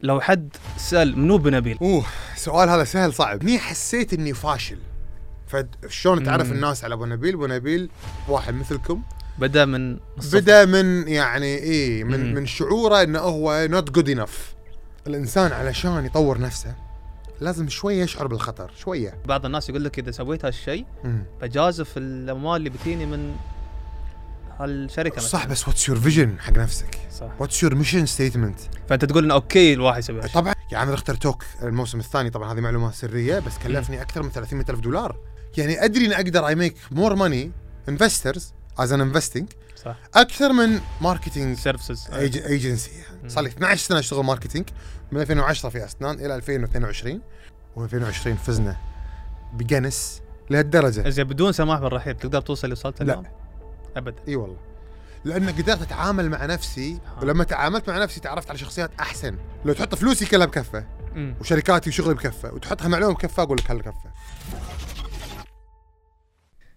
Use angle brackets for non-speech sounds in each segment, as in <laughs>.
لو حد سال منو بنبيل اوه السؤال هذا سهل صعب مي حسيت اني فاشل فشلون تعرف الناس على ابو نبيل ابو نبيل واحد مثلكم بدا من الصفر. بدا من يعني اي من مم. من شعوره انه هو نوت جود انف الانسان علشان يطور نفسه لازم شويه يشعر بالخطر شويه بعض الناس يقول لك اذا سويت هالشيء مم. بجازف الاموال اللي بتيني من هالشركه مثلاً. صح بس واتس يور فيجن حق نفسك صح واتس يور ميشن ستيتمنت فانت تقول انه اوكي الواحد يسوي هالشيء طبعا يعني انا اخترت توك الموسم الثاني طبعا هذه معلومه سريه بس كلفني اكثر من 300 الف دولار يعني ادري ان اقدر اي ميك مور ماني انفسترز از ان انفستنج صح اكثر من ماركتنج سيرفيسز ايجنسي يعني صار لي 12 سنه اشتغل ماركتينج من 2010 في اسنان الى 2022 و2020 فزنا بجنس لهالدرجه زين بدون سماح بالرحيل تقدر توصل اللي وصلت لا. اليوم؟ ابدا اي والله لان قدرت اتعامل مع نفسي ولما تعاملت مع نفسي تعرفت على شخصيات احسن لو تحط فلوسي كلها بكفه مم. وشركاتي وشغلي بكفه وتحطها معلومه بكفه اقول لك هالكفه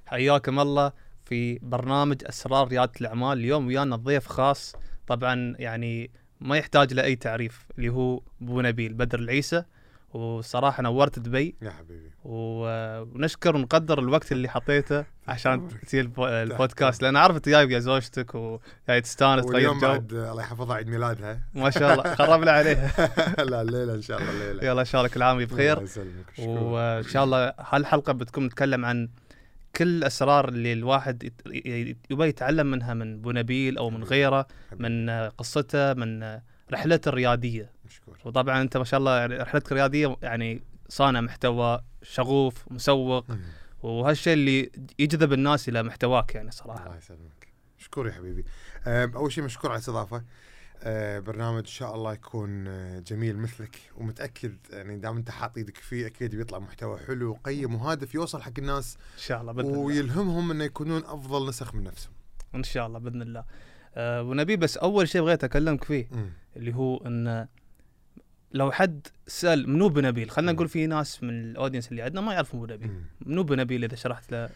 حياكم الله في برنامج اسرار رياده الاعمال اليوم ويانا ضيف خاص طبعا يعني ما يحتاج لاي تعريف اللي هو ابو نبيل بدر العيسى وصراحه نورت دبي يا حبيبي و- ونشكر ونقدر الوقت اللي حطيته <laughs> عشان تصير الب- البودكاست لان عارف انت جايب يا زوجتك وجاي تستانس تغير واليوم جو بعد الله يحفظها عيد <laughs> ميلادها ما شاء <laughs> الله خربنا عليها لا الليله ان شاء الله الليله يلا ان شاء الله كل عام بخير الله يسلمك شكراً. وان شاء الله هالحلقه بتكون نتكلم عن كل الاسرار اللي الواحد يت- ي- يبى يتعلم منها من بونبيل او من غيره من آه، قصته من آه، رحلته الرياديه مشكور وطبعا انت ما شاء الله يعني رحلتك الرياديه يعني صانع محتوى شغوف مسوق مم. وهالشيء اللي يجذب الناس الى محتواك يعني الله صراحه يسلمك مشكور يا حبيبي أه، اول شيء مشكور على الاستضافه أه، برنامج ان شاء الله يكون أه، جميل مثلك ومتاكد يعني دام انت حاط ايدك فيه اكيد بيطلع محتوى حلو وقيم وهادف يوصل حق الناس ان شاء الله باذن الله ويلهمهم انه يكونون افضل نسخ من نفسهم. ان شاء الله باذن الله أه ونبي بس اول شيء بغيت اكلمك فيه مم. اللي هو ان لو حد سال منو بنبيل خلينا نقول في ناس من الاودينس اللي عندنا ما يعرفون منو بنبيل مم. منو بنبيل اذا شرحت له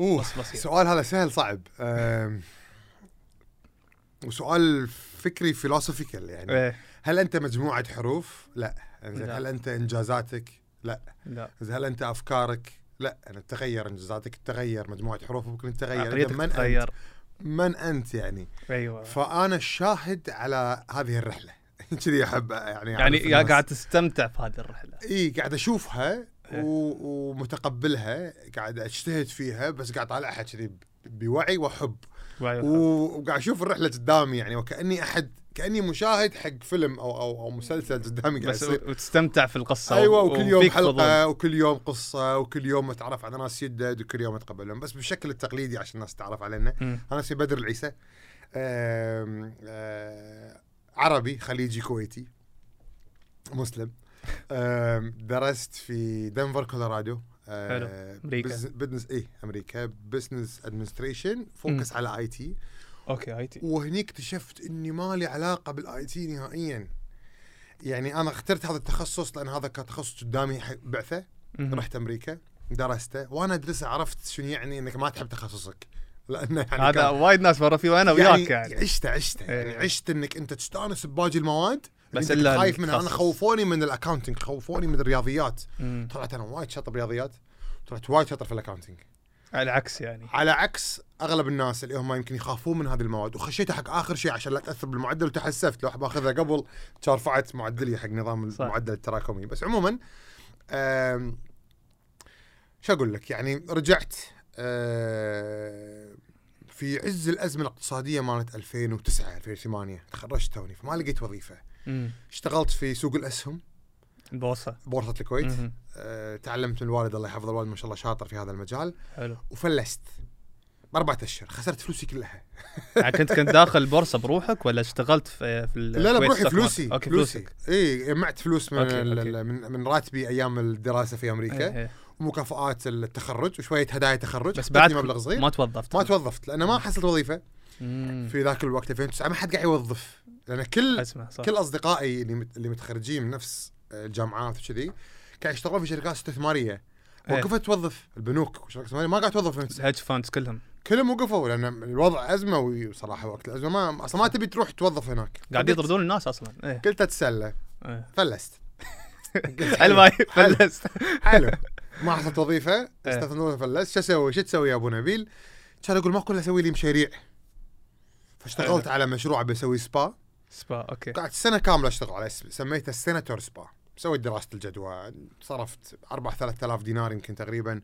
اوه بس بسيط السؤال هذا سهل صعب أم، وسؤال فكري فيلوسوفيكال يعني ايه هل انت مجموعه حروف؟ لا. إنزين، لا. هل انت انجازاتك؟ لا. لا إذا هل انت افكارك لا انا تغير انجازاتك تغير مجموعه حروف ممكن تتغير إذا عقليتك من تتغير انت من انت يعني ايوه فانا الشاهد على هذه الرحله <laughs> كذي احب يعني يعني أعرف يا الناس. قاعد تستمتع في هذه الرحله اي قاعد اشوفها إيه. و... ومتقبلها قاعد اجتهد فيها بس قاعد طالعها كذي ب- بوعي وحب و... و... وقاعد اشوف الرحله قدامي يعني وكاني احد كاني مشاهد حق فيلم او او, أو مسلسل قدامي قاعد بس يصير وتستمتع في القصه ايوه وكل يوم وفيك فضول. حلقه وكل يوم قصه وكل يوم اتعرف على ناس جدد وكل يوم اتقبلهم بس بالشكل التقليدي عشان الناس تتعرف علينا مم. انا اسمي بدر العيسى آم، آه، عربي خليجي كويتي مسلم آم، درست في دنفر كولورادو آه، حلو. أمريكا. بزنس اي امريكا بزنس ادمنستريشن فوكس على اي تي اوكي اي تي وهني اكتشفت اني ما لي علاقه بالاي تي نهائيا يعني انا اخترت هذا التخصص لان هذا كان تخصص قدامي ح- بعثه مهم. رحت امريكا درسته وانا ادرسه عرفت شنو يعني انك ما تحب تخصصك لانه يعني هذا كان- وايد ناس مرة فيه وانا وياك يعني عشته عشته يعني إيه. عشت انك انت تستانس بباقي المواد بس بس الا إلا خايف منها انا التخصص. خوفوني من الاكونتنج خوفوني من الرياضيات مم. طلعت انا وايد شاطر بالرياضيات طلعت وايد شاطر في الاكونتنج على العكس يعني على عكس اغلب الناس اللي هم يمكن يخافون من هذه المواد وخشيتها حق اخر شيء عشان لا تاثر بالمعدل وتحسفت لو باخذها قبل كان رفعت معدلي حق نظام صح. المعدل التراكمي بس عموما آم، شو اقول لك يعني رجعت آم، في عز الازمه الاقتصاديه مالت 2009 2008 تخرجت توني فما لقيت وظيفه مم. اشتغلت في سوق الاسهم البوصه بورصه الكويت مهم. آه، تعلمت من الوالد الله يحفظه الوالد ما شاء الله شاطر في هذا المجال <laughs> حلو وفلست بأربعة أشهر خسرت فلوسي كلها يعني كنت كنت داخل البورصه بروحك ولا اشتغلت في في لا لا الكويت بروحي ستوك ماركت؟ فلوسي اوكي فلوسي فلوسك اي جمعت فلوس من, أوكي، ال- أوكي. ال- من من راتبي ايام الدراسه في امريكا إيه، إيه. ومكافآت التخرج وشويه هدايا تخرج بس بس بعد بعد مبلغ صغير ما توظفت ما توظفت لأن ما حصلت وظيفه مم. في ذاك الوقت 2009 ما حد قاعد يوظف لان كل اسمع صح كل اصدقائي اللي مت- اللي متخرجين من نفس الجامعات وكذي قاعد يشتغلون في شركات استثماريه إيه. وقفت توظف البنوك وشركات استثماريه ما قاعد توظف من الهيدج فاندز كلهم كلهم وقفوا لان الوضع ازمه وصراحه وقت الازمه ما اصلا ما تبي تروح توظف هناك أه. قاعد فقلت- يطردون الناس اصلا ايه قلت اتسلى إيه. فلست <laughs> حلو قلت أه. حلو هاي فلست حلو ما حصلت وظيفه استثنوني فلست شو اسوي شو تسوي يا ابو نبيل؟ كان اقول ماكو الا اسوي لي مشاريع أه. فاشتغلت على مشروع بسوي سبا سبا اوكي قعدت سنه كامله اشتغل عليه سميته السيناتور سبا سويت دراسه الجدوى صرفت 4 3000 دينار يمكن تقريبا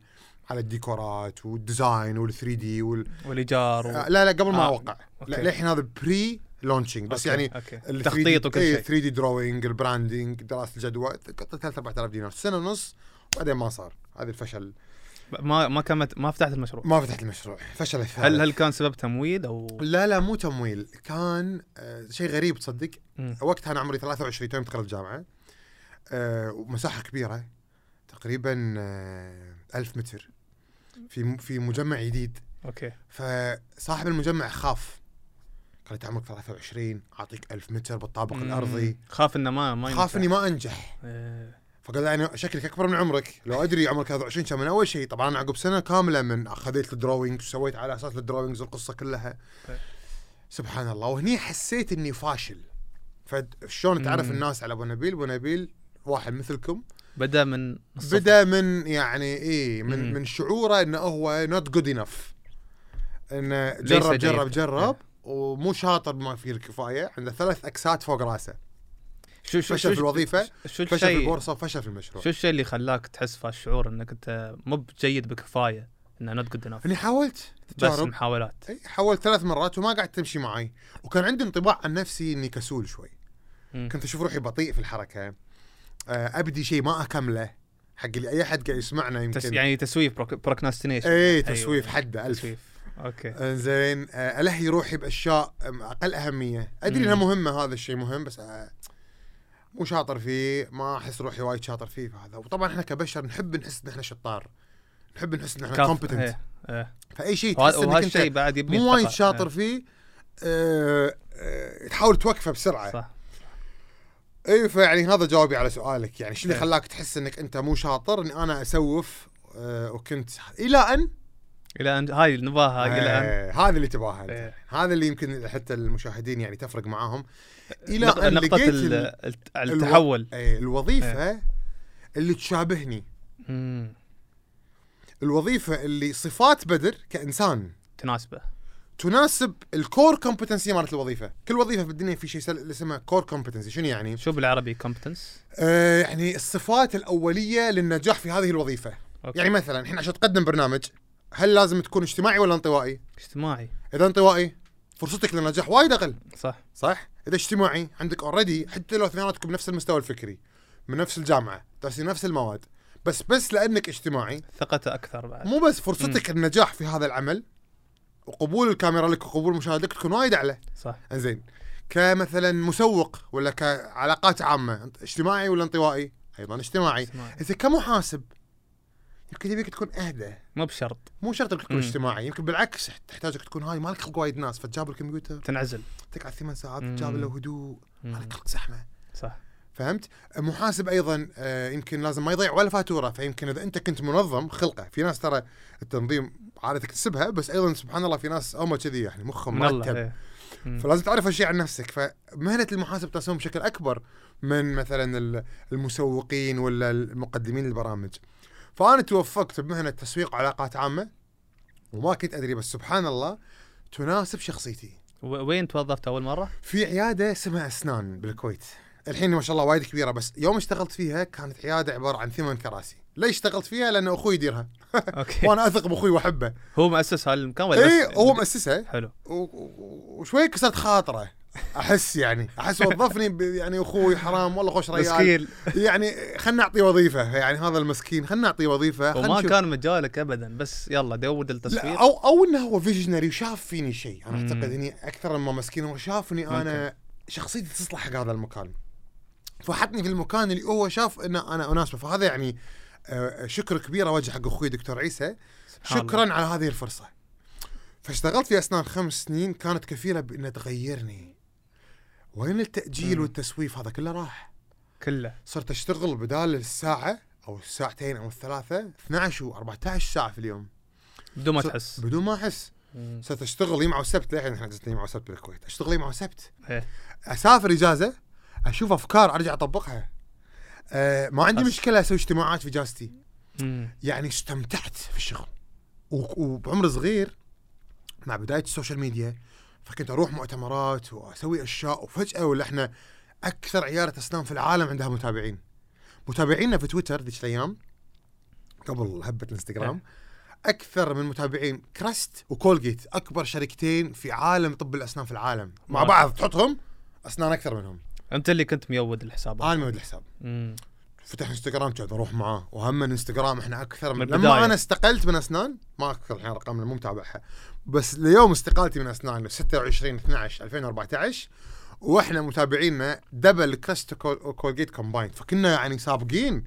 على الديكورات والديزاين وال3 دي وال... والايجار و... آه، لا لا قبل ما آه، اوقع أوكي. لا للحين هذا بري لونشينج بس أوكي، يعني أوكي. ال 3D تخطيط وكل إيه، شيء. 3 دي دروينج البراندنج دراسه الجدوى 3 4000 دينار سنه ونص وبعدين ما صار هذا الفشل ما ما كملت ما فتحت المشروع ما فتحت المشروع فشل هل هل كان سبب تمويل او لا لا مو تمويل كان آه، شيء غريب تصدق مم. وقتها انا عمري 23 توي متخرج الجامعه آه، ومساحه كبيره تقريبا آه، 1000 متر في م- في مجمع جديد اوكي فصاحب المجمع خاف قال انت عمرك 23 اعطيك 1000 متر بالطابق مم. الارضي خاف انه ما ما خاف ينفع. اني ما انجح إيه. فقال لي انا شكلك اكبر من عمرك لو ادري عمرك 23 كان من اول شيء طبعا انا عقب سنه كامله من اخذت الدروينج وسويت على اساس الدروينجز القصه كلها طيب. سبحان الله وهني حسيت اني فاشل فشلون تعرف مم. الناس على ابو نبيل ابو نبيل واحد مثلكم بدا من الصفر. بدا من يعني ايه من مم. من شعوره انه هو نوت جود انف انه ليس جرب جيد. نعم. جرب جرب ومو شاطر بما فيه الكفايه عنده ثلاث اكسات فوق راسه شو شو فشل في الوظيفه شو فشل في الشيء البورصه وفشل في المشروع شو الشيء اللي خلاك تحس في الشعور انك انت مو بجيد بكفايه انه نوت جود انف اني حاولت بس تجارب محاولات إي، حاولت ثلاث مرات وما قاعد تمشي معي وكان عندي انطباع عن نفسي اني كسول شوي مم. كنت اشوف روحي بطيء في الحركه آه، ابدي شيء ما اكمله حق اللي اي احد قاعد يسمعنا تس... يمكن يعني تسويف بروكناستينيشن اي تسويف حده ألف أيوة. تسويف اوكي انزين آه، الهي روحي باشياء آم، اقل اهميه ادري مم. انها مهمه هذا الشيء مهم بس آه، مو شاطر فيه ما احس روحي وايد شاطر فيه فهذا وطبعا احنا كبشر نحب نحس ان احنا شطار نحب نحس ان احنا كاف- كومبتنت إيه، إيه. فاي شيء تحس وه- انك وهالشيء إيه. انت بعد يبني مو وايد الثقة. شاطر فيه آه، آه، تحاول توقفه بسرعه إيه، صح اي فيعني هذا جوابي على سؤالك يعني شو اللي إيه. خلاك تحس انك انت مو شاطر اني انا اسوف آه، وكنت الى ان الى ان هاي نباها الى ان آه، هذا اللي تباها انت إيه. هذا اللي يمكن حتى المشاهدين يعني تفرق معاهم الى نق- ان نقطه لقيت ال- إيه. ال- الت- التحول آه، الوظيفه اللي تشابهني مم. الوظيفه اللي صفات بدر كانسان تناسبه تناسب الكور كومبتنسي مالت الوظيفه كل وظيفه في الدنيا في شيء سل- اسمه كور كومبتنسي شنو يعني شو بالعربي كومبتنس آه، يعني الصفات الاوليه للنجاح في هذه الوظيفه أوكي. يعني مثلا الحين عشان تقدم برنامج هل لازم تكون اجتماعي ولا انطوائي؟ اجتماعي اذا انطوائي فرصتك للنجاح وايد اقل صح صح؟ اذا اجتماعي عندك اوريدي حتى لو اثنيناتكم بنفس المستوى الفكري من نفس الجامعه دارسين نفس المواد بس بس لانك اجتماعي ثقته اكثر بعد مو بس فرصتك النجاح في هذا العمل وقبول الكاميرا لك وقبول مشاهدتك تكون وايد اعلى صح انزين كمثلا مسوق ولا كعلاقات عامه أنت اجتماعي ولا انطوائي؟ ايضا اجتماعي اجتماعي. اذا كمحاسب يمكن يبيك تكون اهدى مو بشرط مو شرط انك تكون مم. اجتماعي يمكن بالعكس تحتاجك تكون هاي مالك خلق وايد ناس فتجاب الكمبيوتر تنعزل تقعد ثمان ساعات مم. تجاب له هدوء مم. مالك خلق زحمه صح فهمت؟ محاسب ايضا آه، يمكن لازم ما يضيع ولا فاتوره فيمكن اذا انت كنت منظم خلقه في ناس ترى التنظيم عاده تكتسبها بس ايضا سبحان الله في ناس هم كذي يعني مخهم من الله مرتب إيه. مم. فلازم تعرف هالشيء عن نفسك فمهنه المحاسب تسوم بشكل اكبر من مثلا ال- المسوقين ولا المقدمين البرامج فانا توفقت بمهنه تسويق علاقات عامه وما كنت ادري بس سبحان الله تناسب شخصيتي و- وين توظفت اول مره؟ <laughs> في عياده اسمها اسنان بالكويت الحين ما شاء الله وايد كبيره بس يوم اشتغلت فيها كانت عياده عباره عن ثمان كراسي ليش اشتغلت فيها لان <laughs> اخوي يديرها اوكي وانا اثق باخوي واحبه هو مؤسس هالمكان ولا اي طيب، بس- إيه، يعني هو مؤسسها حلو و- و- وشوي كسرت خاطره احس يعني احس وظفني ب- يعني اخوي حرام والله خوش ريال مسكين يعني خلنا نعطيه وظيفه يعني هذا المسكين خلنا نعطيه وظيفه خلنا وما نشوف- كان مجالك ابدا بس يلا دور لا التصوير او او انه هو فيجنري وشاف فيني شيء انا مم. اعتقد اني اكثر مما مسكين هو شافني انا شخصيتي تصلح حق هذا المكان فحطني في المكان اللي هو شاف ان انا اناسبه فهذا يعني آه، شكر كبير اوجه حق اخوي دكتور عيسى سبحان الله. شكرا على هذه الفرصه فاشتغلت في اسنان خمس سنين كانت كفيله بانها تغيرني وين التاجيل مم. والتسويف هذا كله راح كله صرت اشتغل بدال الساعه او الساعتين او الثلاثه 12 و14 ساعه في اليوم بدون ما صرت- تحس بدون ما احس مم. صرت اشتغل يوم او سبت للحين احنا جزتنا يوم او سبت بالكويت اشتغل يوم او سبت إيه. اسافر اجازه اشوف افكار ارجع اطبقها أه ما عندي أص- مشكله اسوي اجتماعات في جاستي مم. يعني استمتعت في الشغل و- وبعمر صغير مع بدايه السوشيال ميديا فكنت اروح مؤتمرات واسوي اشياء وفجاه ولا احنا اكثر عياده اسنان في العالم عندها متابعين متابعينا في تويتر ذيك الايام قبل هبه الانستغرام اكثر من متابعين كراست وكولجيت اكبر شركتين في عالم طب الاسنان في العالم مع واو. بعض تحطهم اسنان اكثر منهم انت اللي كنت ميود الحسابات انا مود الحساب مم. فتح انستغرام كنت اروح معاه وهم انستغرام احنا اكثر من, من من لما البداية. انا استقلت من اسنان ما اذكر الحين ارقام مو متابعها بس ليوم استقالتي من اسنان في 26 12 2014 واحنا متابعينا دبل كريست وكول- وكولجيت كومبايند فكنا يعني سابقين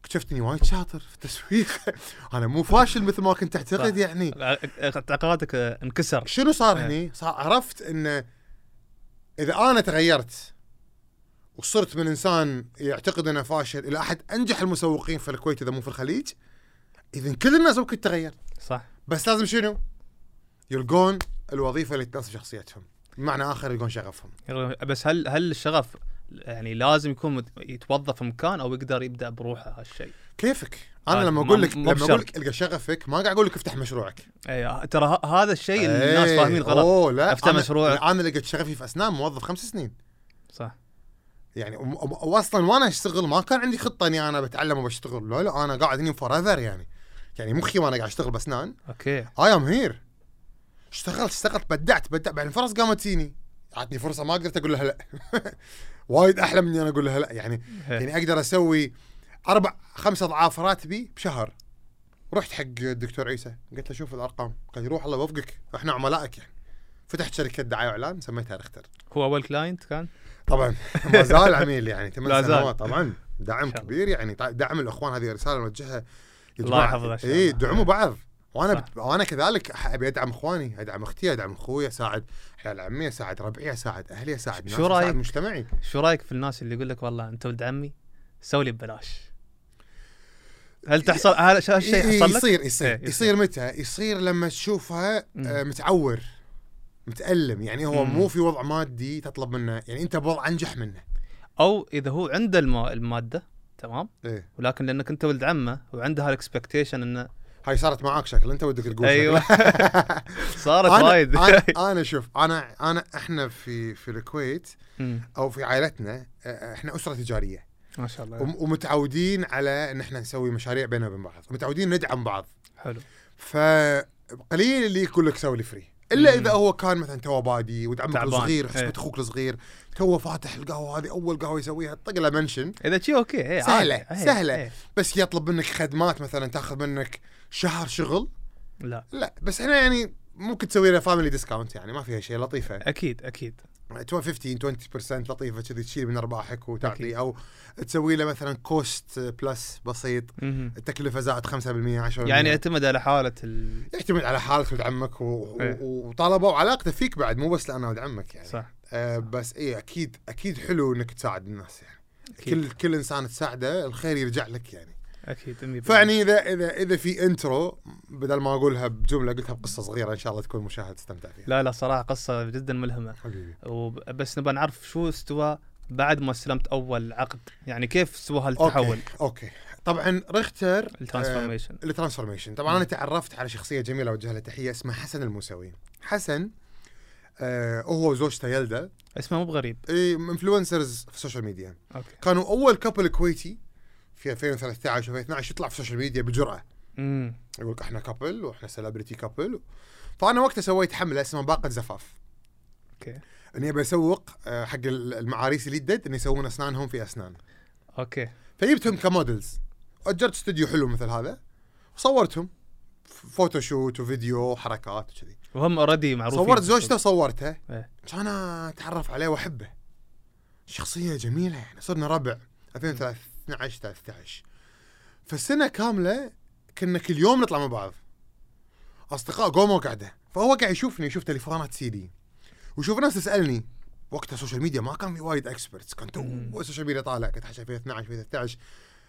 اكتشفت اني وايد شاطر في التسويق <laughs> انا مو فاشل مثل ما كنت اعتقد صح. يعني اعتقادك آه، انكسر شنو صار إيه. هني؟ صار عرفت انه اذا انا تغيرت وصرت من انسان يعتقد انه فاشل الى احد انجح المسوقين في الكويت اذا مو في الخليج اذا كل الناس ممكن تتغير صح بس لازم شنو؟ يلقون الوظيفه اللي تناسب شخصيتهم بمعنى اخر يلقون شغفهم بس هل هل الشغف يعني لازم يكون مت- يتوظف مكان او يقدر يبدا بروحه هالشيء كيفك انا عادي، لما آه، ما- اقول لك مو لما بشرط. اقول لك القى شغفك ما قاعد اقول لك افتح مشروعك اي إيه، ترى ه- هذا الشيء اللي الناس إيه، فاهمين غلط اوه لا أفتح أنا- مشروعك. انا لقيت شغفي في اسنان موظف خمس سنين صح يعني وم- وم- واصلا وانا اشتغل ما كان عندي خطه اني انا بتعلم وبشتغل لا لا انا قاعد هني فور ايفر يعني يعني مخي وانا قاعد اشتغل باسنان اوكي اي ام هير اشتغلت اشتغلت بدعت بدعت بعدين فرص قامت تجيني عطني فرصه ما قدرت اقول لها لا <laughs> وايد احلى من اني انا اقول لها لا يعني إيه. يعني اقدر اسوي اربع خمس اضعاف راتبي بشهر رحت حق الدكتور عيسى قلت له شوف الارقام قال لي روح الله يوفقك احنا عملائك يعني فتحت شركه دعايه واعلان سميتها رختر هو اول كلاينت كان <laughs> طبعا ما زال عميل يعني لا ثمان زال. سنوات طبعا دعم إن شاء الله. كبير يعني طا- دعم الاخوان هذه رساله نوجهها يا الله جماعة، يحفظه إن شاء اي الله. دعموا بعض وانا صح. بت... وانا كذلك أح- ابي ادعم اخواني ادعم اختي ادعم اخوي اساعد عيال عمي اساعد ربعي اساعد اهلي شو اساعد ناسي، أساعد رأيك؟ مجتمعي شو رايك في الناس اللي يقول لك والله انت ولد عمي سوي لي ببلاش هل تحصل هذا ش- هالشيء ي- حصل لك؟ يصير يصير إيه، يصير. يصير متى؟ يصير لما تشوفها مم. آه، متعور متألم يعني هو مم. مو في وضع مادي تطلب منه يعني انت بوضع انجح منه او اذا هو عنده الم- الماده تمام ايه ولكن لانك انت ولد عمه وعنده هالاكسبكتيشن انه هاي صارت معاك شكل انت ودك تقول ايوه <laughs> صارت أنا- وايد <laughs> انا انا شوف انا انا احنا في في الكويت مم. او في عائلتنا آه، احنا اسره تجاريه ما شاء الله وم- ومتعودين على ان احنا نسوي مشاريع بيننا وبين بعض متعودين ندعم بعض حلو فقليل اللي يقول لك سوي لي فري الا مم. اذا هو كان مثلا تو بادي ودعمك تعبان. صغير حسبة إيه. اخوك الصغير تو فاتح القهوه هذه اول قهوه يسويها طق له منشن اذا شي اوكي إيه، عادي. سهلة، إيه، سهلة. إيه. بس يطلب منك خدمات مثلا تاخذ منك شهر شغل لا لا بس احنا يعني ممكن تسوي له فاميلي ديسكاونت يعني ما فيها شيء لطيفه اكيد اكيد 15 20% لطيفه كذي تشيل من ارباحك أكيد. وتعطي او تسوي له مثلا كوست بلس بسيط مهم. التكلفه زائد 5% 10% يعني يعتمد على حاله ال... يعتمد على حالك ولد عمك و... إيه. و... وطلبه وعلاقته فيك بعد مو بس لانه ولد عمك يعني صح آه بس اي اكيد اكيد حلو انك تساعد الناس يعني اكيد كل كل انسان تساعده الخير يرجع لك يعني اكيد 100%. فيعني اذا اذا اذا في انترو بدل ما اقولها بجمله قلتها بقصه صغيره ان شاء الله تكون مشاهد استمتع فيها لا لا صراحه قصه جدا ملهمه حبيبي وب- بس نبغى نعرف شو استوى بعد ما استلمت اول عقد يعني كيف استوى هالتحول اوكي اوكي طبعا رختر آه، الترانسفورميشن الترانسفورميشن طبعا انا تعرفت على شخصيه جميله اوجه لها تحيه اسمها حسن الموسوي حسن آه هو وزوجته يلدا اسمه مو بغريب انفلونسرز في السوشيال ميديا اوكي كانوا اول كابل كويتي في 2013 و2012 يطلع في السوشيال ميديا بجرأه امم يقول لك احنا كابل واحنا سيلبرتي كابل فانا وقتها سويت حمله اسمها باقه زفاف اوكي اني ابي اسوق آه، حق المعاريس اللي دد ان يسوون اسنانهم في اسنان اوكي فجبتهم كمودلز اجرت استوديو حلو مثل هذا وصورتهم ف- فوتوشوت وفيديو وحركات وكذي وهم اوريدي معروفين صورت زوجته وصورته إيه. كان اتعرف عليه واحبه شخصيه جميله يعني صرنا ربع 2012 13 فالسنه كامله كنا كل يوم نطلع مع بعض اصدقاء قوموا قاعده فهو قاعد يشوفني يشوف تليفونات سيدي ويشوف ناس تسالني وقتها السوشيال ميديا ما كان في وايد اكسبرتس كان تو السوشيال ميديا طالع كنت حاشا 2012 2013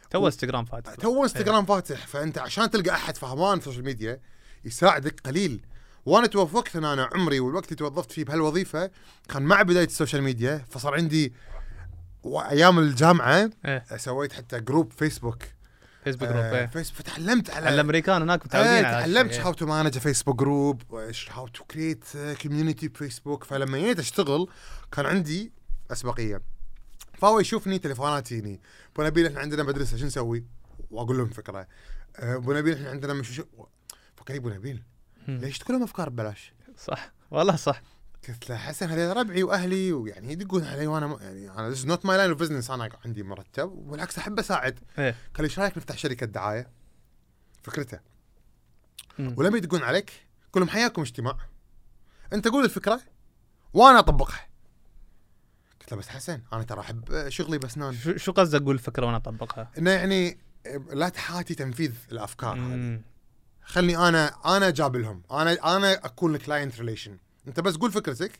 تو انستغرام فاتح تو انستغرام فاتح فانت عشان تلقى احد فهمان في السوشيال ميديا يساعدك قليل وانا توفقت ان انا عمري والوقت اللي توظفت فيه بهالوظيفه كان مع بدايه السوشيال ميديا فصار عندي وايام الجامعه إيه. سويت حتى جروب فيسبوك فيسبوك جروب آه إيه. فيسبوك تعلمت على الامريكان هناك آه، متعودين على تعلمت هالشيء. هاو تو مانج فيسبوك جروب هاو تو كريت كوميونتي بفيسبوك فلما جيت اشتغل كان عندي اسبقيه فهو يشوفني تليفوناتي هني ابو نبيل احنا عندنا مدرسه شو نسوي؟ واقول لهم فكره آه، ابو نبيل احنا عندنا مش شو فكر ابو نبيل مم. ليش تقول لهم افكار ببلاش؟ صح والله صح قلت له حسن هذول ربعي واهلي ويعني يدقون علي وانا ما- يعني انا ذس نوت ماي لاين اوف بزنس انا عندي مرتب وبالعكس احب اساعد ايه قال لي ايش رايك نفتح شركه دعايه؟ فكرته مم. ولما يدقون عليك قول لهم حياكم اجتماع انت قول الفكره وانا اطبقها قلت له بس حسن انا ترى احب شغلي باسنان شو شو قصدك اقول الفكره وانا اطبقها؟ انه يعني لا تحاتي تنفيذ الافكار آه، هذه مم. خلني انا انا جاب لهم انا انا اكون الكلاينت ريليشن انت بس قول فكرتك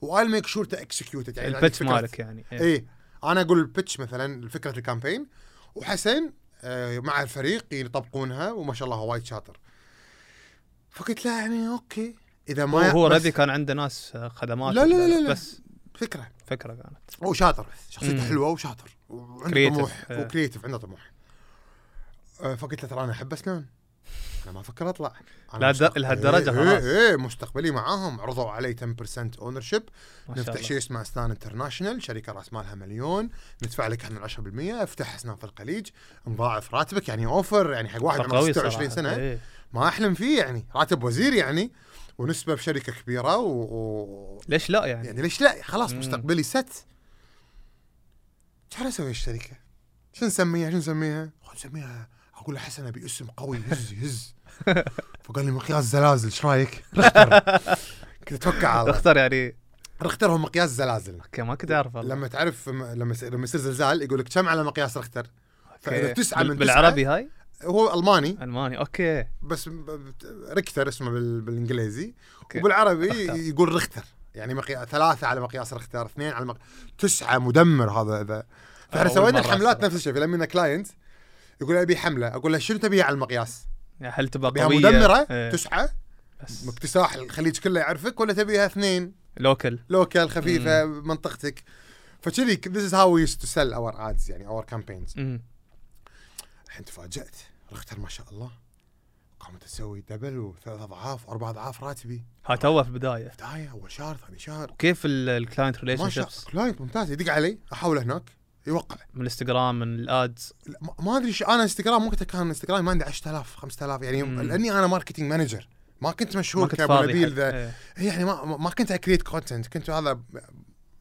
وايل ميك شور تو اكسكيوت يعني عندك البتش فكرة- مالك يعني إيه. ايه انا اقول البتش مثلا فكره الكامبين وحسن آه، مع الفريق يطبقونها وما شاء الله هو وايد شاطر فقلت له يعني اوكي اذا هو, ما هو بس ردي كان عنده ناس آه، خدمات لا- لا- لا- لا- لا. بس فكره فكره كانت هو شاطر بس شخصيته مم. حلوه وشاطر وعنده Creative. طموح آه. وكريتيف عنده طموح آه، فقلت له ترى انا احب اسنان انا ما افكر اطلع أنا لا د- مستق- لهالدرجة إيه, خلاص. ايه, إيه مستقبلي معاهم عرضوا علي 10% اونر شيب ما شاء نفتح الله شيء اسمه اسنان انترناشونال شركه راس مالها مليون ندفع لك احنا 10% افتح اسنان في الخليج نضاعف راتبك يعني اوفر يعني حق واحد عمره قوي 26 صراحة. سنه إيه. ما احلم فيه يعني راتب وزير يعني ونسبه بشركه كبيره و... و... ليش لا يعني؟ يعني ليش لا خلاص مم. مستقبلي ست شو اسوي الشركه؟ شو نسميها شو نسميها؟ خل نسميها اقول له حسن ابي اسم قوي <laughs> يهز يهز فقال لي مقياس زلازل ايش رايك؟ رختر كنت اتوقع على الله. اختار يعني رختر هو مقياس زلازل اوكي ما كنت اعرف والله. لما تعرف م- لما يصير- لما يصير زلزال يقول لك كم على مقياس رختر؟ فاذا أوكي. تسعه من بال- بالعربي بالعربي هاي؟ هو الماني الماني اوكي بس ب- ب- ركتر اسمه بال- بالانجليزي أوكي. وبالعربي رختر. يقول رختر يعني مقياس ثلاثه على مقياس رختر اثنين على مقياس تسعه مدمر هذا ذا فاحنا أول سوينا مرة الحملات أسمع. نفس الشيء فلما كلاينت يقول ابي حمله اقول له شنو تبيها على المقياس؟ يعني هل تبقى تبيها قويه مدمره إيه. تسعه بس اكتساح الخليج كله يعرفك ولا تبيها اثنين لوكل لوكال خفيفه منطقتك فكذي ذيس از هاو وي تو سيل اور ادز يعني اور كامبينز مم. الحين تفاجات رختر ما شاء الله قامت تسوي دبل وثلاث اضعاف واربع اضعاف راتبي ها توه في البدايه بدايه اول شهر ثاني شهر كيف الكلاينت ما ريليشن شاء شيبس كلاينت ممتاز يدق علي احوله هناك يوقع من الانستغرام من الادز لا، ما- ما ادري شو انا انستغرام وقتها كان انستغرام ما عندي 10000 5000 يعني مم. لاني انا ماركتنج مانجر ما كنت ما مشهور كنت كابو فاضي نبيل حق- ذا إيه. يعني ما ما كنت اكريت كونتنت كنت هذا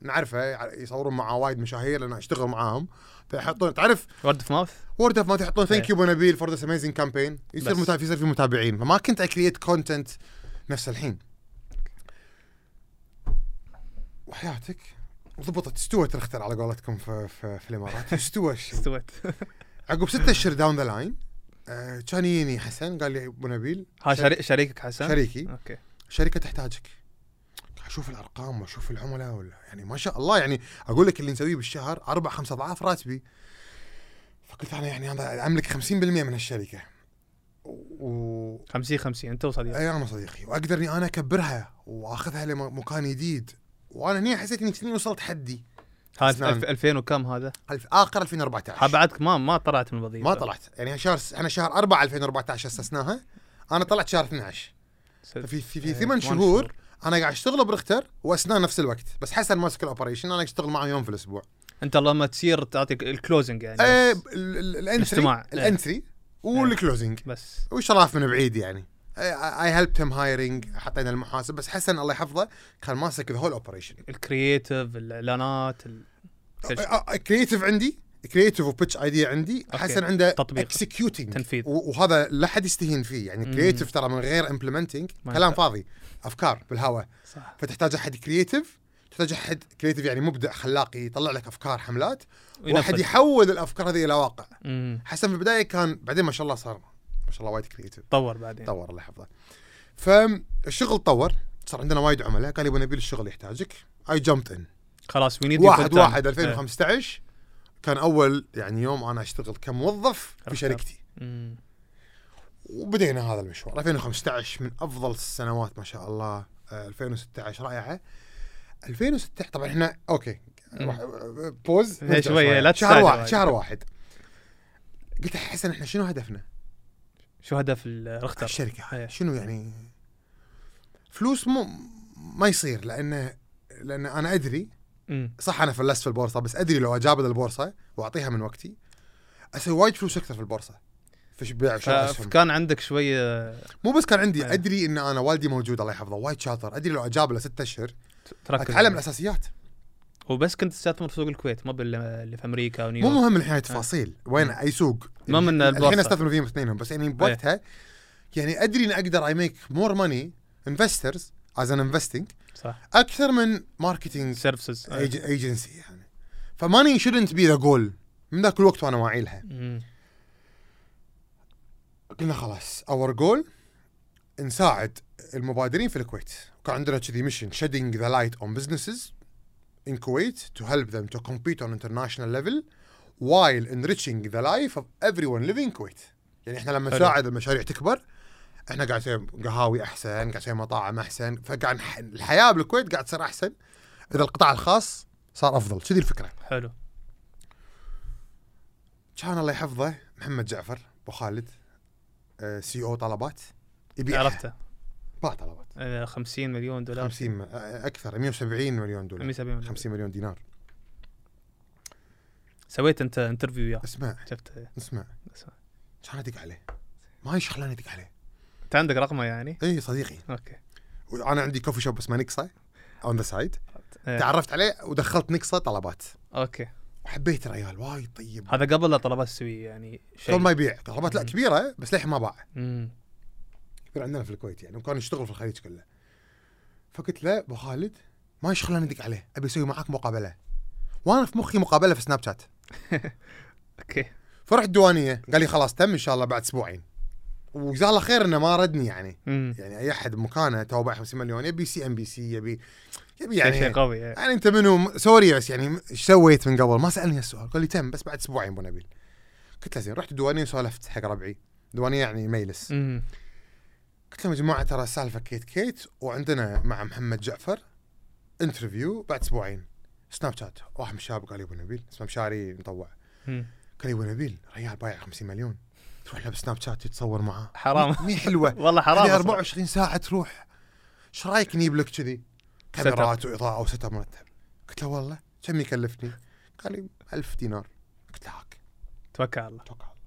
نعرفه يع- يصورون معاه وايد مشاهير لان اشتغل معاهم فيحطون تعرف ورد في ماوث وورد اوف ماوث يحطون ثانك إيه. يو ابو نبيل فور ذس اميزنج كامبين يصير بس. متابع يصير في متابعين فما كنت اكريت كونتنت نفس الحين وحياتك ضبطت استوت رختر على قولتكم في, في, في الامارات استوى الشيء استوت عقب ستة اشهر داون ذا لاين آه، كان يجيني حسن قال لي ابو نبيل ها شريك- شريك شريكك حسن شريكي اوكي شركه تحتاجك اشوف الارقام واشوف العملاء ولا يعني ما شاء الله يعني اقول لك اللي نسويه بالشهر اربع خمس اضعاف راتبي فقلت انا يعني انا املك 50% من الشركه و 50 50 انت وصديقك اي انا صديقي واقدر اني انا اكبرها واخذها لمكان جديد وانا هنا حسيت اني كني وصلت حدي هذا أسنان. 2000 وكم هذا؟ الف اخر ها 2014 بعدك ما ما طلعت من الوظيفه ما طلعت يعني شهر احنا شهر 4 2014 اسسناها انا طلعت شهر 12 ست- ففي في, في إيه، ثمان شهور انا قاعد اشتغل برختر واسنان نفس الوقت بس حسن ماسك الاوبريشن انا اشتغل معه يوم في الاسبوع انت لما تصير تعطي الكلوزنج يعني ايه بس, الانتري الاجتماع. إيه. الانتري والكلوزنج بس. وشراف من بعيد يعني اي هيلب هيم هايرنج حطينا المحاسب بس حسن الله يحفظه كان ماسك ذا هول اوبريشن الكرييتيف الاعلانات ال... كل شيء. كريتيف آه، عندي كريتيف وبتش ايديا عندي حسن عنده تطبيق. اكسكيوتنج تنفيذ. وهذا لا حد يستهين فيه يعني مم. كريتيف ترى من غير امبلمنتنج ما كلام ينفع. فاضي افكار بالهواء صح فتحتاج احد كرييتيف تحتاج احد كرييتيف يعني مبدع خلاق يطلع لك افكار حملات واحد وينفذ. يحول الافكار هذه الى واقع امم حسن في البدايه كان بعدين ما شاء الله صار ما شاء الله وايد كرييتيف تطور بعدين طور الله يحفظه فالشغل طور صار عندنا وايد عملاء قال لي ابو نبيل الشغل يحتاجك اي جمبت ان خلاص وي نيد واحد واحد إيه. 2015 كان اول يعني يوم انا اشتغل كموظف في عرفت. شركتي وبدينا هذا المشوار 2015 من افضل السنوات ما شاء الله آه، 2016 رائعه 2016 طبعا احنا اوكي راح- بوز هي نرجع شوية، لا شهر تستعجل واحد وايد. شهر واحد قلت حسن احنا شنو هدفنا؟ شو هدف الرختر؟ الشركه إيه. شنو يعني فلوس مو ما يصير لانه لان انا ادري أمم. صح انا فلست في البورصه بس ادري لو اجابل البورصه واعطيها من وقتي اسوي وايد فلوس اكثر في البورصه في بيع ف- وشراء اسهم فكان عندك آه، شويه مو بس كان عندي إيه. ادري ان انا والدي موجود الله يحفظه وايد شاطر ادري لو اجابله ستة اشهر تركز اتعلم الاساسيات وبس كنت تستثمر في سوق الكويت ما بال اللي في امريكا مو ونيويورك مهم الحين التفاصيل وين اي سوق أيوه. أمم. ما من أيوه. الحين البورصة. استثمر فيهم اثنينهم بس يعني بوقتها يعني ادري ان اقدر اي ميك مور ماني انفسترز از ان انفستنج صح اكثر من ماركتنج سيرفيسز ايجنسي يعني فماني شودنت بي ذا جول من ذاك الوقت وانا واعي لها قلنا خلاص اور جول نساعد المبادرين في الكويت كان عندنا كذي ميشن shedding ذا لايت اون businesses in Kuwait to help them to compete on international level while enriching the life of everyone living Kuwait يعني احنا لما حلو. نساعد المشاريع تكبر احنا قاعد نسوي قهاوي احسن قاعد نسوي مطاعم احسن فقاعد نح- الحياه بالكويت قاعد تصير احسن اذا القطاع الخاص صار افضل كذي الفكره حلو كان الله يحفظه محمد جعفر ابو خالد آه، سي او طلبات يبيعها. عرفته ما طلبات آه، 50 مليون دولار 50 م- اكثر 170 مليون دولار 170 مليون 50 مليون دينار سويت انت انترفيو وياه اسمع شفته اسمع اسمع. كان ادق عليه ما هي شغله ادق عليه انت عندك رقمه يعني؟ اي صديقي اوكي انا عندي كوفي شوب اسمه نكسه اون ذا سايد إيه. تعرفت عليه ودخلت نكسه طلبات اوكي وحبيت الريال وايد طيب هذا قبل لا طلبات تسوي يعني شيء قبل ما يبيع طلبات لا مم. كبيره بس للحين ما باع مم. كبير عندنا في الكويت يعني وكان يشتغل في الخليج كله فقلت له ابو خالد ما يشغل انا ادق عليه ابي اسوي معاك مقابله وانا في مخي مقابله في سناب شات اوكي فرحت الديوانيه قال لي خلاص تم ان شاء الله بعد اسبوعين وجزاه الله خير انه ما ردني يعني مم. يعني اي احد بمكانه تو باع 50 مليون يبي سي ام بي سي يبي يبي يعني يعني شيء قوي إيه. يعني انت منو م- سوري بس يعني ايش سويت من قبل؟ ما سالني هالسؤال، قال لي تم بس بعد اسبوعين ابو نبيل. قلت له زين رحت الديوانيه وسولفت حق ربعي، الديوانيه يعني ميلس. مم. قلت لهم يا جماعه ترى السالفه كيت كيت وعندنا مع محمد جعفر انترفيو بعد اسبوعين سناب شات واحد من الشباب قال لي ابو نبيل اسمه مشاري مطوع مم. قال لي ابو نبيل ريال بايع 50 مليون تروح له بسناب شات تتصور معاه حرام مي حلوه والله هذه <laughs> حرام أصلاً. 24 ساعه تروح ايش رايك نجيب لك كذي كاميرات واضاءه وست أب مرتب قلت له والله كم يكلفني؟ قال لي 1000 دينار قلت له هاك توكل على الله توكل على الله.